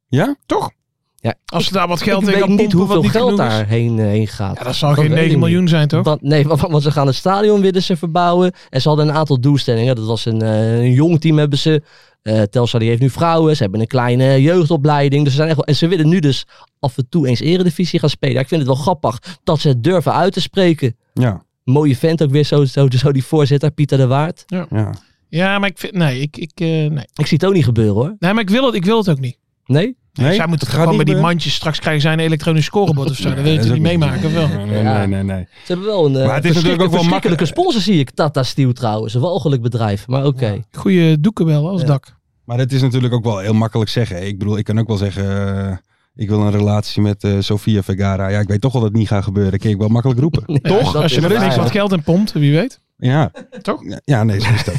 S4: Ja?
S6: Toch?
S5: Ja,
S6: Als ze daar wat geld
S5: ik
S6: in
S5: weet
S6: gaan pompen,
S5: niet hoeveel
S6: wat niet
S5: geld
S6: genoeg is.
S5: daarheen eh, heen gaat.
S6: Ja, dat zal
S5: Dat
S6: geen
S5: weet
S6: 9
S5: ik niet.
S6: miljoen zijn, toch?
S5: Want, nee, want, want ze gaan het stadion willen ze verbouwen. En ze hadden een aantal doelstellingen. Dat was een, eh, een jong team hebben ze. Eh Telstar die heeft nu vrouwen. Ze hebben een kleine jeugdopleiding. Dus ze zijn echt wel, en ze willen nu dus af en toe eens eredivisie gaan spelen. Ja, ik vind het wel grappig dat ze het durven uit te spreken.
S4: Ja,
S5: Mooie vent ook weer, zo, zo, zo die voorzitter, Pieter de Waard.
S4: ja.
S6: Ja, maar ik vind... Nee, ik, ik, eh, nee.
S5: Ik zie het ook niet gebeuren hoor.
S6: nee, maar ik wil het, ik wil het ook niet.
S5: Nee?
S4: Nee,
S6: Zij moeten
S4: het
S6: gewoon bij
S4: niet
S6: die
S4: meer.
S6: mandjes straks krijgen zij een elektronisch scorebord of zo. dat wil je
S4: dat is
S6: toch niet
S4: ook niet
S6: meemaken, of wel?
S4: Nee, nee,
S5: Ja.
S4: nee, nee, nee.
S5: Ze hebben wel een eh,
S4: Maar het is natuurlijk
S5: verschrikke-
S4: ook wel
S5: verschrikkelijke
S4: makkelijk.
S5: sponsor zie ik. Tata Steel trouwens. Een walgelijk bedrijf. Maar oké.
S6: Goeie doeken wel als
S5: Ja.
S6: dak.
S4: Maar dat is natuurlijk ook wel heel makkelijk zeggen. Ik bedoel, ik kan ook wel zeggen, eh, ik wil een relatie met eh Sofia Vergara. Ja, ik weet toch wel dat het niet gaat gebeuren. Dat kan ik wel makkelijk roepen.
S5: Ja,
S6: Toch?
S5: dat
S6: als je
S5: is
S6: er
S5: waar,
S6: niks
S5: ja.
S6: wat geld in pompt, wie weet.
S4: Ja.
S6: Toch?
S4: Ja, nee, zo is dat.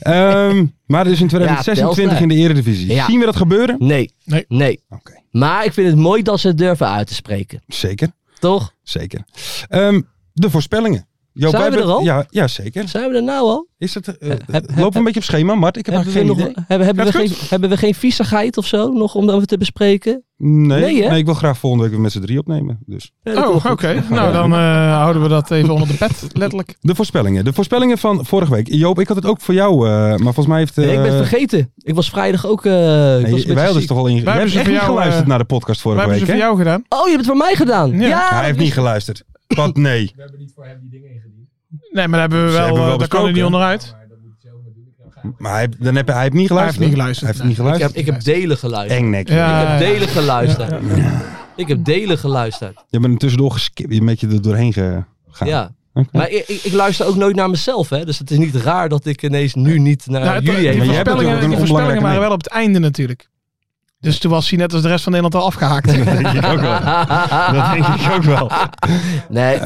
S4: Ehm, maar dus in 2026 in de Eredivisie.
S5: Ja.
S4: Zien we dat gebeuren?
S5: Nee.
S6: Nee.
S5: nee.
S4: Oké,
S5: Maar ik vind het mooi dat ze het durven uit te spreken.
S4: zeker.
S5: Toch?
S4: Zeker. Ehm, de voorspellingen. Joop,
S5: Zijn
S4: wij
S5: we
S4: hebben-
S5: er al?
S4: Ja, ja, zeker.
S5: Zijn we er nou al?
S4: Is het, eh,
S5: heb- heb-
S4: lopen we een beetje op schema, Mart? Ik heb
S5: Hebben we,
S4: eigenlijk geen idee.
S5: nog, hebben, hebben, we
S4: Gaat het
S5: geen, hebben we geen viezigheid of zo nog om over te bespreken?
S4: Nee,
S5: Nee,
S4: nee,
S5: hè?
S4: ik wil graag volgende week weer met z'n drie opnemen. Dus.
S6: Oh, oké. Nou, dan eh, houden we dat even onder de pet, letterlijk.
S4: De voorspellingen. De voorspellingen van vorige week. Joop, ik had het ook voor jou, eh, maar volgens mij heeft... eh,
S5: Nee, ik ben het vergeten. Ik was vrijdag ook. eh, ik
S4: nee,
S5: was een beetje
S4: wij hadden het
S5: ziek.
S4: toch al in... Jij
S6: hebben
S4: hebt
S6: ze
S4: echt
S6: voor
S4: niet
S6: jou,
S4: geluisterd
S6: eh,
S4: naar de podcast
S6: Wat
S4: vorige
S6: hebben
S4: week,
S6: ze
S4: hè?
S6: voor jou gedaan?
S5: Oh, je hebt het voor mij gedaan. Ja, dus-
S6: Ja.
S4: Hij heeft niet geluisterd. Wat? Nee.
S6: Nee, maar daar hebben we
S4: Ze
S6: wel,
S4: hebben
S6: eh,
S4: wel
S6: daar kan
S4: besproken,
S6: er niet
S4: hè?
S6: onderuit. Nou,
S4: Maar hij, dan heb, hij heeft niet geluisterd.
S6: Hij heeft niet geluisterd,
S4: Hij heeft niet
S5: ik, heb,
S4: geluisterd.
S5: ik heb delen geluisterd.
S4: Engnek.
S6: Ja.
S5: Ik heb delen geluisterd. Ik heb delen geluisterd.
S4: Je bent er tussendoor geskipt. Een beetje er doorheen gegaan.
S5: Ja.
S4: Oké.
S5: Maar ik, ik, ik luister ook nooit naar mezelf, hè? Dus het is niet raar dat ik ineens nu niet naar
S6: Nou, het-
S5: jullie
S6: die
S4: Maar
S5: heen.
S4: jij hebt
S6: voorspellingen,
S4: natuurlijk ook een
S6: die voorspellingen
S4: onbelangrijke
S6: waren wel op het einde natuurlijk. Dus toen was hij net als de rest van Nederland al afgehaakt.
S4: Dat denk ik ook wel. Dat denk ik ook wel.
S5: Nee,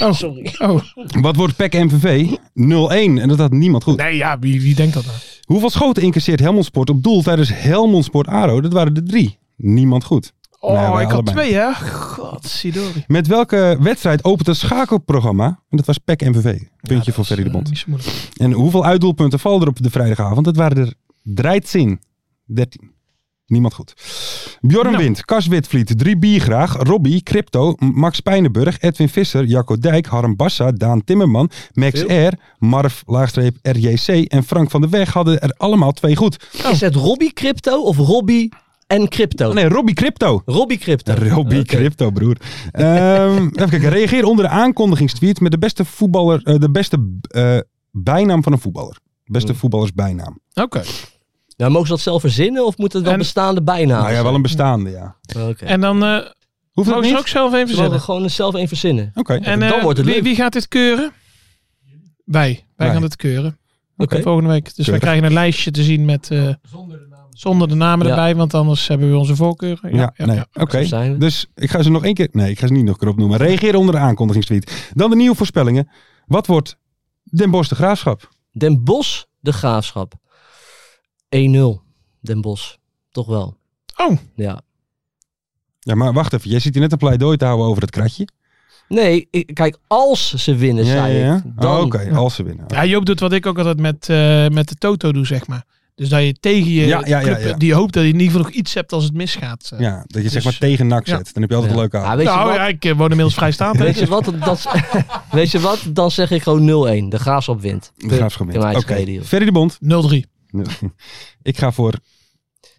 S6: Oh, sorry. Oh.
S4: E Wat wordt PEC MVV? 0-1. En dat had niemand goed.
S6: Nee, ja, wie, wie denkt dat nou?
S4: Hoeveel schoten incasseert Helmond Sport op doel tijdens Helmond Sport ADO? Dat waren er drie. Niemand goed.
S6: Oh,
S4: Nou, wij
S6: ik had
S4: allebei.
S6: twee, hè? God, Sidori.
S4: Met welke wedstrijd opent het schakelprogramma? En dat was E PEC MVV. Puntje voor Ferry de Bond. En hoeveel uitdoelpunten vallen er op de vrijdagavond? Dat waren er dreitzin. 13. Niemand goed. Bjorn
S6: Nou.
S4: Wind, Kas Witvliet, 3 Bier graag, Robbie, Crypto, M- Max Pijnenburg, Edwin Visser, Jacco Dijk, Harm Bassa, Daan Timmerman, Max R, Marv, laagstreep RJC en Frank van der Weg hadden er allemaal twee goed.
S5: Oh. Is het Robbie Crypto of Robbie en Crypto?
S4: Nee, Robbie Crypto.
S5: Robbie Crypto.
S4: Robbie
S5: Oké.
S4: Crypto, broer. Ehm, even kijken. Reageer onder de aankondigingstweet met de beste voetballer, eh, de beste eh, bijnaam van een voetballer. Beste voetballersbijnaam.
S6: Oké.
S5: Nou, mogen ze dat zelf verzinnen of moeten het wel
S6: En-
S5: bestaande bijnaam
S4: nou ja, wel een bestaande, ja.
S6: En dan eh
S4: Hoeft dat
S6: mogen
S4: niet?
S6: ze ook zelf
S5: Ze
S6: even
S5: mogen
S6: verzinnen.
S5: gewoon zelf één verzinnen.
S4: Oké.
S6: En
S5: Dan
S6: eh,
S5: wordt het
S6: wie,
S5: leuk.
S6: wie gaat dit keuren? Wij. Wij
S4: Wij.
S6: gaan het keuren.
S5: Oké.
S6: Volgende week. Dus wij
S4: Keurig.
S6: krijgen een lijstje te zien met... eh, zonder de namen
S5: Ja.
S6: erbij, want anders hebben we onze voorkeuren.
S4: Ja, nee. Oké,
S5: Zo zijn we.
S4: dus ik ga ze nog één keer... Nee, ik ga ze niet nog een keer opnoemen. Reageer onder de aankondigingstweet. Dan de nieuwe voorspellingen. Wat wordt Den Bosch de Graafschap?
S5: Den Bos, de graafschap. 1-0. Den Bos. Toch wel.
S6: Oh.
S5: Ja.
S4: Ja, maar wacht even. Jij zit hier net een pleidooi te houden over het kratje.
S5: Nee, ik- kijk, als ze winnen,
S4: ja,
S5: zei
S4: ja.
S5: ik. Dan,
S4: Oh, Oké, als ze winnen.
S6: Ja, Joop doet wat ik ook altijd met, eh, met de Toto doe, zeg maar. Dus dat je tegen je
S4: Ja, ja, ja,
S6: club,
S4: ja.
S6: die hoopt dat je in ieder geval nog iets hebt als het misgaat. eh.
S4: Ja, dat je zeg
S6: Dus-
S4: maar tegen NAC
S6: Ja.
S4: zet. Dan heb je altijd
S5: Ja.
S4: een leuke
S5: Ah,
S4: avond.
S5: weet, je
S6: nou
S5: wat,
S6: ja, ik eh, woon inmiddels vrijstaand. hè.
S5: weet, je wat, dan, weet je wat? Dan zeg ik gewoon 0-1. De graafschap wint.
S4: De Graafschap
S5: Kan
S4: wint.
S5: mij
S4: Oké,
S5: schelen, joh.
S4: Ferry de Bond.
S6: 0-3.
S4: Ik ga voor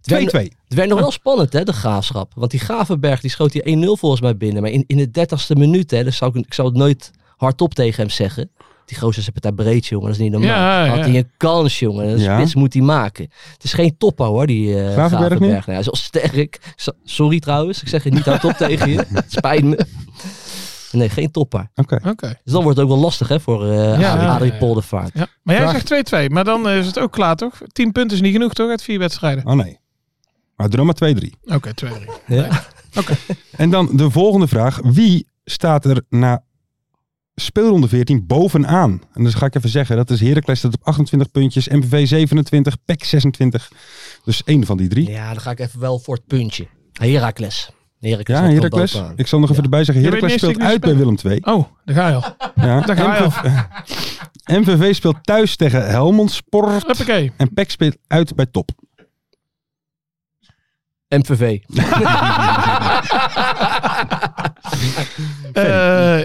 S4: 2-2.
S5: werd- Het werd nog wel spannend, hè, de graafschap. Want die Gravenberg die schoot die 1-0 volgens mij binnen. Maar in, in de 30ste minuut, hè, dus zou ik, ik zou het nooit hardop tegen hem zeggen. Die gozers hebben het daar breed, jongen. Dat is niet normaal.
S6: Ja, ja.
S5: Had hij een kans, jongen. Een
S4: Ja.
S5: spits moet hij maken. Het is geen topper, hoor, die eh
S4: Gravenberg
S5: Gravenberg.
S4: niet?
S5: Nou, hij is wel sterk. So- Sorry trouwens, ik zeg het niet hardop tegen je. Het spijt me. Nee, geen topper.
S4: Oké.
S6: Oké.
S5: Dus dan wordt het ook wel lastig, hè, voor eh
S6: Ja,
S5: Adrie,
S6: ja,
S5: Adrie
S6: ja.
S5: Poldervaart.
S6: Ja. Maar jij
S4: Vraag-
S6: zegt 2-2, maar dan eh, is het ook klaar, toch? 10 punten is niet genoeg, toch? Uit vier wedstrijden.
S4: Oh nee. Maar doe dan maar 2-3.
S6: Oké, 2-3.
S5: Ja.
S4: En dan de volgende vraag. Wie staat er na speelronde 14 bovenaan? En dat ga ik even zeggen. Dat is Heracles staat op 28 puntjes, MVV 27, PEC 26. E Dus één van die drie.
S5: ja, dan ga ik even wel voor het puntje. Heracles. Heracles.
S4: Ja,
S5: had wel
S4: Heracles.
S5: bovenaan.
S4: Ik zal nog even
S5: Ja.
S4: erbij zeggen.
S6: Je weet
S4: Heracles
S6: niet eens
S4: speelt
S6: wie
S4: uit bij Willem II.
S6: Oh, daar ga je al.
S4: Ja.
S6: Daar ga je
S4: MVV, MVV speelt thuis tegen Helmond Sport.
S6: Hoppakee.
S4: En PEC speelt uit bij Top.
S5: MVV.
S6: Eh,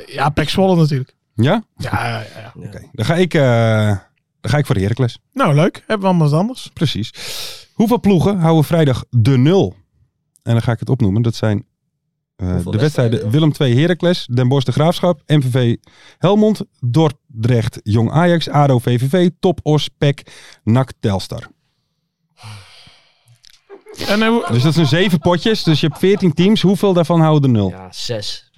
S6: ja, Pek Zwolle natuurlijk.
S4: Ja?
S6: Ja, ja, ja.
S4: Oké. Dan, ga ik, eh, dan ga ik voor Heracles.
S6: Nou, leuk. Hebben we allemaal wat anders.
S4: Precies. Hoeveel ploegen houden vrijdag de nul? En dan ga ik het opnoemen. Dat zijn eh, de wedstrijden Willem II Heracles, Den Bosch de Graafschap, MVV Helmond, Dordrecht Jong Ajax, ADO VVV, Top Os, E PEC, NAC Telstar.
S6: En, eh, hoe-
S4: Dus dat zijn zeven potjes. Dus je hebt veertien teams. Hoeveel daarvan houden de nul?
S5: Ja, zes.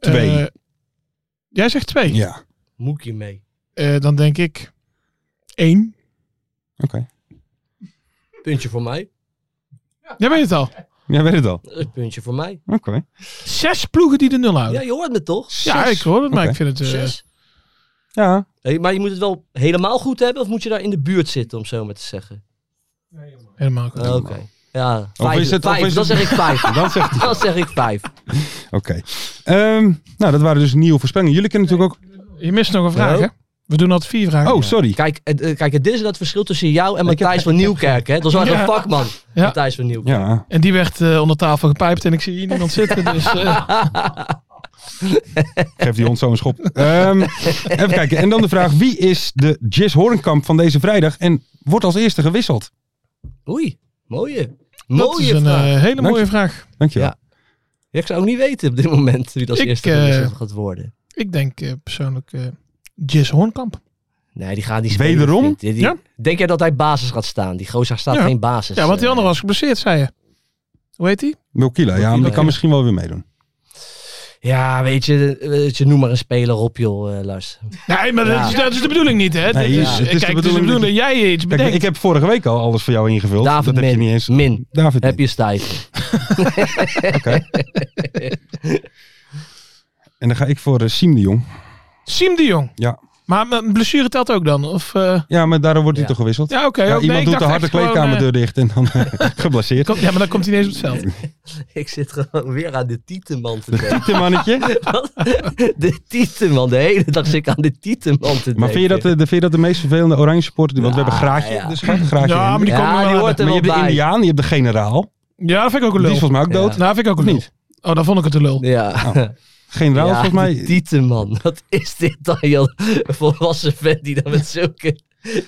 S4: Twee.
S6: eh, jij zegt twee.
S4: Ja.
S5: Moekie mee.
S6: Eh, dan denk ik één.
S4: Oké.
S5: Puntje voor mij.
S6: Jij weet het al.
S4: Jij weet het al.
S5: Een puntje voor mij.
S4: Oké.
S6: Zes ploegen die de nul
S5: Ja,
S6: houden.
S5: je hoort me toch?
S6: Ja, ik hoor het, maar ik vind het... eh,
S5: Zes.
S4: Ja.
S5: Hey, maar je moet het wel helemaal goed hebben of moet je daar in de buurt zitten, om zo maar te zeggen?
S6: helemaal goed.
S5: Oké. Ja, vijf.
S4: is het- of
S5: vijf.
S4: is
S5: Dan
S4: het-
S5: zeg ik vijf.
S4: Dan zegt hij.
S5: Dan zeg ik vijf.
S4: Oké. Ehm, nou, dat waren dus nieuwe voorspellingen. Jullie kunnen natuurlijk
S6: Je mist nog een vraag,
S5: Hallo?
S6: hè? We doen altijd vier vragen.
S4: ook... Oh, sorry.
S5: Kijk, het- eh, kijk, het- dit is dat verschil tussen jou en Matthijs van Nieuwkerk. Hè? Dat is wel echt een
S6: Ja.
S5: vakman,
S6: Ja.
S5: Matthijs van Nieuwkerk.
S4: Ja.
S6: En die werd eh, onder tafel gepijpt en ik zie hier niemand zitten. Dus, eh,
S4: Geef die hond zo een schop. Ehm, even kijken. En dan de vraag: wie is de Jess Horenkamp van deze vrijdag en wordt als eerste gewisseld?
S5: Oei, mooie.
S6: dat is
S5: Mooie
S6: een
S5: vraag.
S6: eh, hele
S4: Dank
S6: mooie
S4: je.
S6: vraag.
S4: Dankjewel.
S5: Ja. Ja, ik zou ook niet weten op dit moment wie dat als
S6: Ik,
S5: eerste
S6: eh,
S5: gewisseld gaat worden.
S6: Ik denk eh, persoonlijk eh Jess Hoornkamp.
S5: Nee, die gaat niet spelen.
S4: Wederom?
S5: vriend. Die- die-
S6: Ja.
S5: Denk jij dat hij basis gaat staan? Die gozer staat
S6: Ja.
S5: geen basis.
S6: Ja, want die
S5: eh,
S6: andere was geblesseerd, zei je. Hoe heet die?
S4: Wilkila, ja, maar die kan misschien wel weer meedoen.
S5: Ja, weet je, weet je, noem maar een speler op, joh, eh, luister.
S6: Nee, maar
S5: Ja.
S6: dat, is, dat is de bedoeling niet, hè? Dat
S4: Nee,
S6: is-
S4: ja. Het is de
S6: Kijk, het is de
S4: bedoeling
S6: bedoeling dat jij iets
S4: Kijk,
S6: bedenkt.
S4: ik heb vorige week al alles voor jou ingevuld. dat
S5: David
S4: heb
S5: Min.
S4: je niet eens.
S5: Min.
S4: David,
S5: Heb
S4: Min.
S5: je stijf.
S4: En dan ga ik voor eh, Siem de Jong.
S6: Siem de Jong.
S4: Ja.
S6: Maar een blessure telt ook dan? Of, eh,
S4: Ja, maar daarom wordt hij
S5: Ja.
S4: toch gewisseld?
S6: ja, oké.
S4: Ja,
S6: ook- nee,
S4: iemand
S6: ik
S4: doet de
S6: dacht
S4: harde
S6: echt gewoon, eh,
S4: kleedkamerdeur dicht en dan geblesseerd.
S6: kom- ja, maar dan komt hij ineens op het veld.
S5: Ik zit gewoon weer aan de tietenman te denken.
S4: Tietemannetje.
S5: Wat? De tietenman. De hele dag zit ik aan de tietenman te denken.
S4: Maar vind je, dat, eh, de, vind je dat de meest vervelende oranje supporter? Want we
S5: Ja,
S4: hebben Graatje,
S5: ja.
S4: dus graag Graatje.
S6: Ja, maar
S4: Hendrik.
S6: die komt
S5: Ja,
S6: er
S5: die
S6: wel
S5: hoort
S6: aan.
S5: er
S4: Maar je
S5: wel
S4: hebt de
S5: bij.
S4: Indiaan, je hebt de generaal.
S6: Ja, dat vind ik ook een
S4: Die
S6: lul.
S4: is volgens mij ook
S5: Ja.
S4: dood.
S6: Nou, vind ik ook een lul.
S4: Niet.
S6: Oh, dan vond ik het een lul.
S5: Ja.
S4: Generaal is
S5: ja,
S4: Nou, volgens mij...
S5: de tietenman. Wat is dit dan, joh? Een volwassen vent die dan met zulke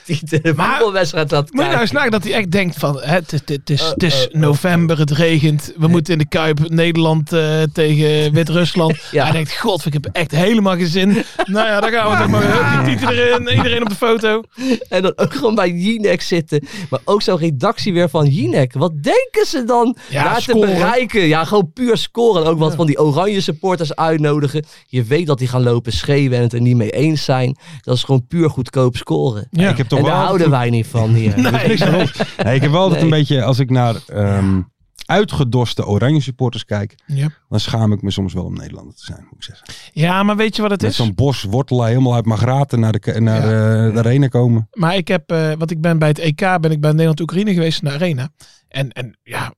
S5: tieten
S6: Maar-
S5: een wedstrijd gaat kijken.
S6: Moet je nou eens nagaan dat hij echt denkt van, hè, het, is- het is, het
S5: Eh,
S6: is
S5: eh, eh.
S6: november, het regent, we moeten in de Kuip, Nederland eh, tegen Wit-Rusland.
S5: Ja.
S6: Hij denkt, god, ik heb echt helemaal geen zin. nou ja, daar gaan we toch maar,
S5: Ah.
S6: hup, die tieten erin, iedereen op de foto.
S5: En dan ook gewoon bij Jinek zitten. Maar ook zo'n redactie weer van Jinek. Wat denken ze dan
S6: Ja,
S5: daar
S6: scoren.
S5: te bereiken? Ja, gewoon puur scoren. En ook wat van die oranje supporters uitnodigen. Je weet dat die gaan lopen schreeuwen en het er niet mee eens zijn. Dat is gewoon puur goedkoop scoren.
S6: Ja.
S4: Ik heb toch
S5: En daar
S4: wel
S5: houden wij niet van hier.
S6: Nee,
S4: Nee, ik heb wel altijd
S5: Nee.
S4: een beetje, als ik naar ehm, uitgedorste oranje supporters kijk,
S6: Ja.
S4: dan schaam ik me soms wel om Nederlander te zijn, moet ik zeggen.
S6: Ja, maar weet je wat het
S4: Met
S6: is?
S4: zo'n bos wortelen helemaal uit Magraten naar de, ke- naar, eh, de arena komen.
S6: Maar ik heb, eh want ik ben bij het EK, ben ik bij Nederland-Oekraïne geweest in de arena. En, en ja,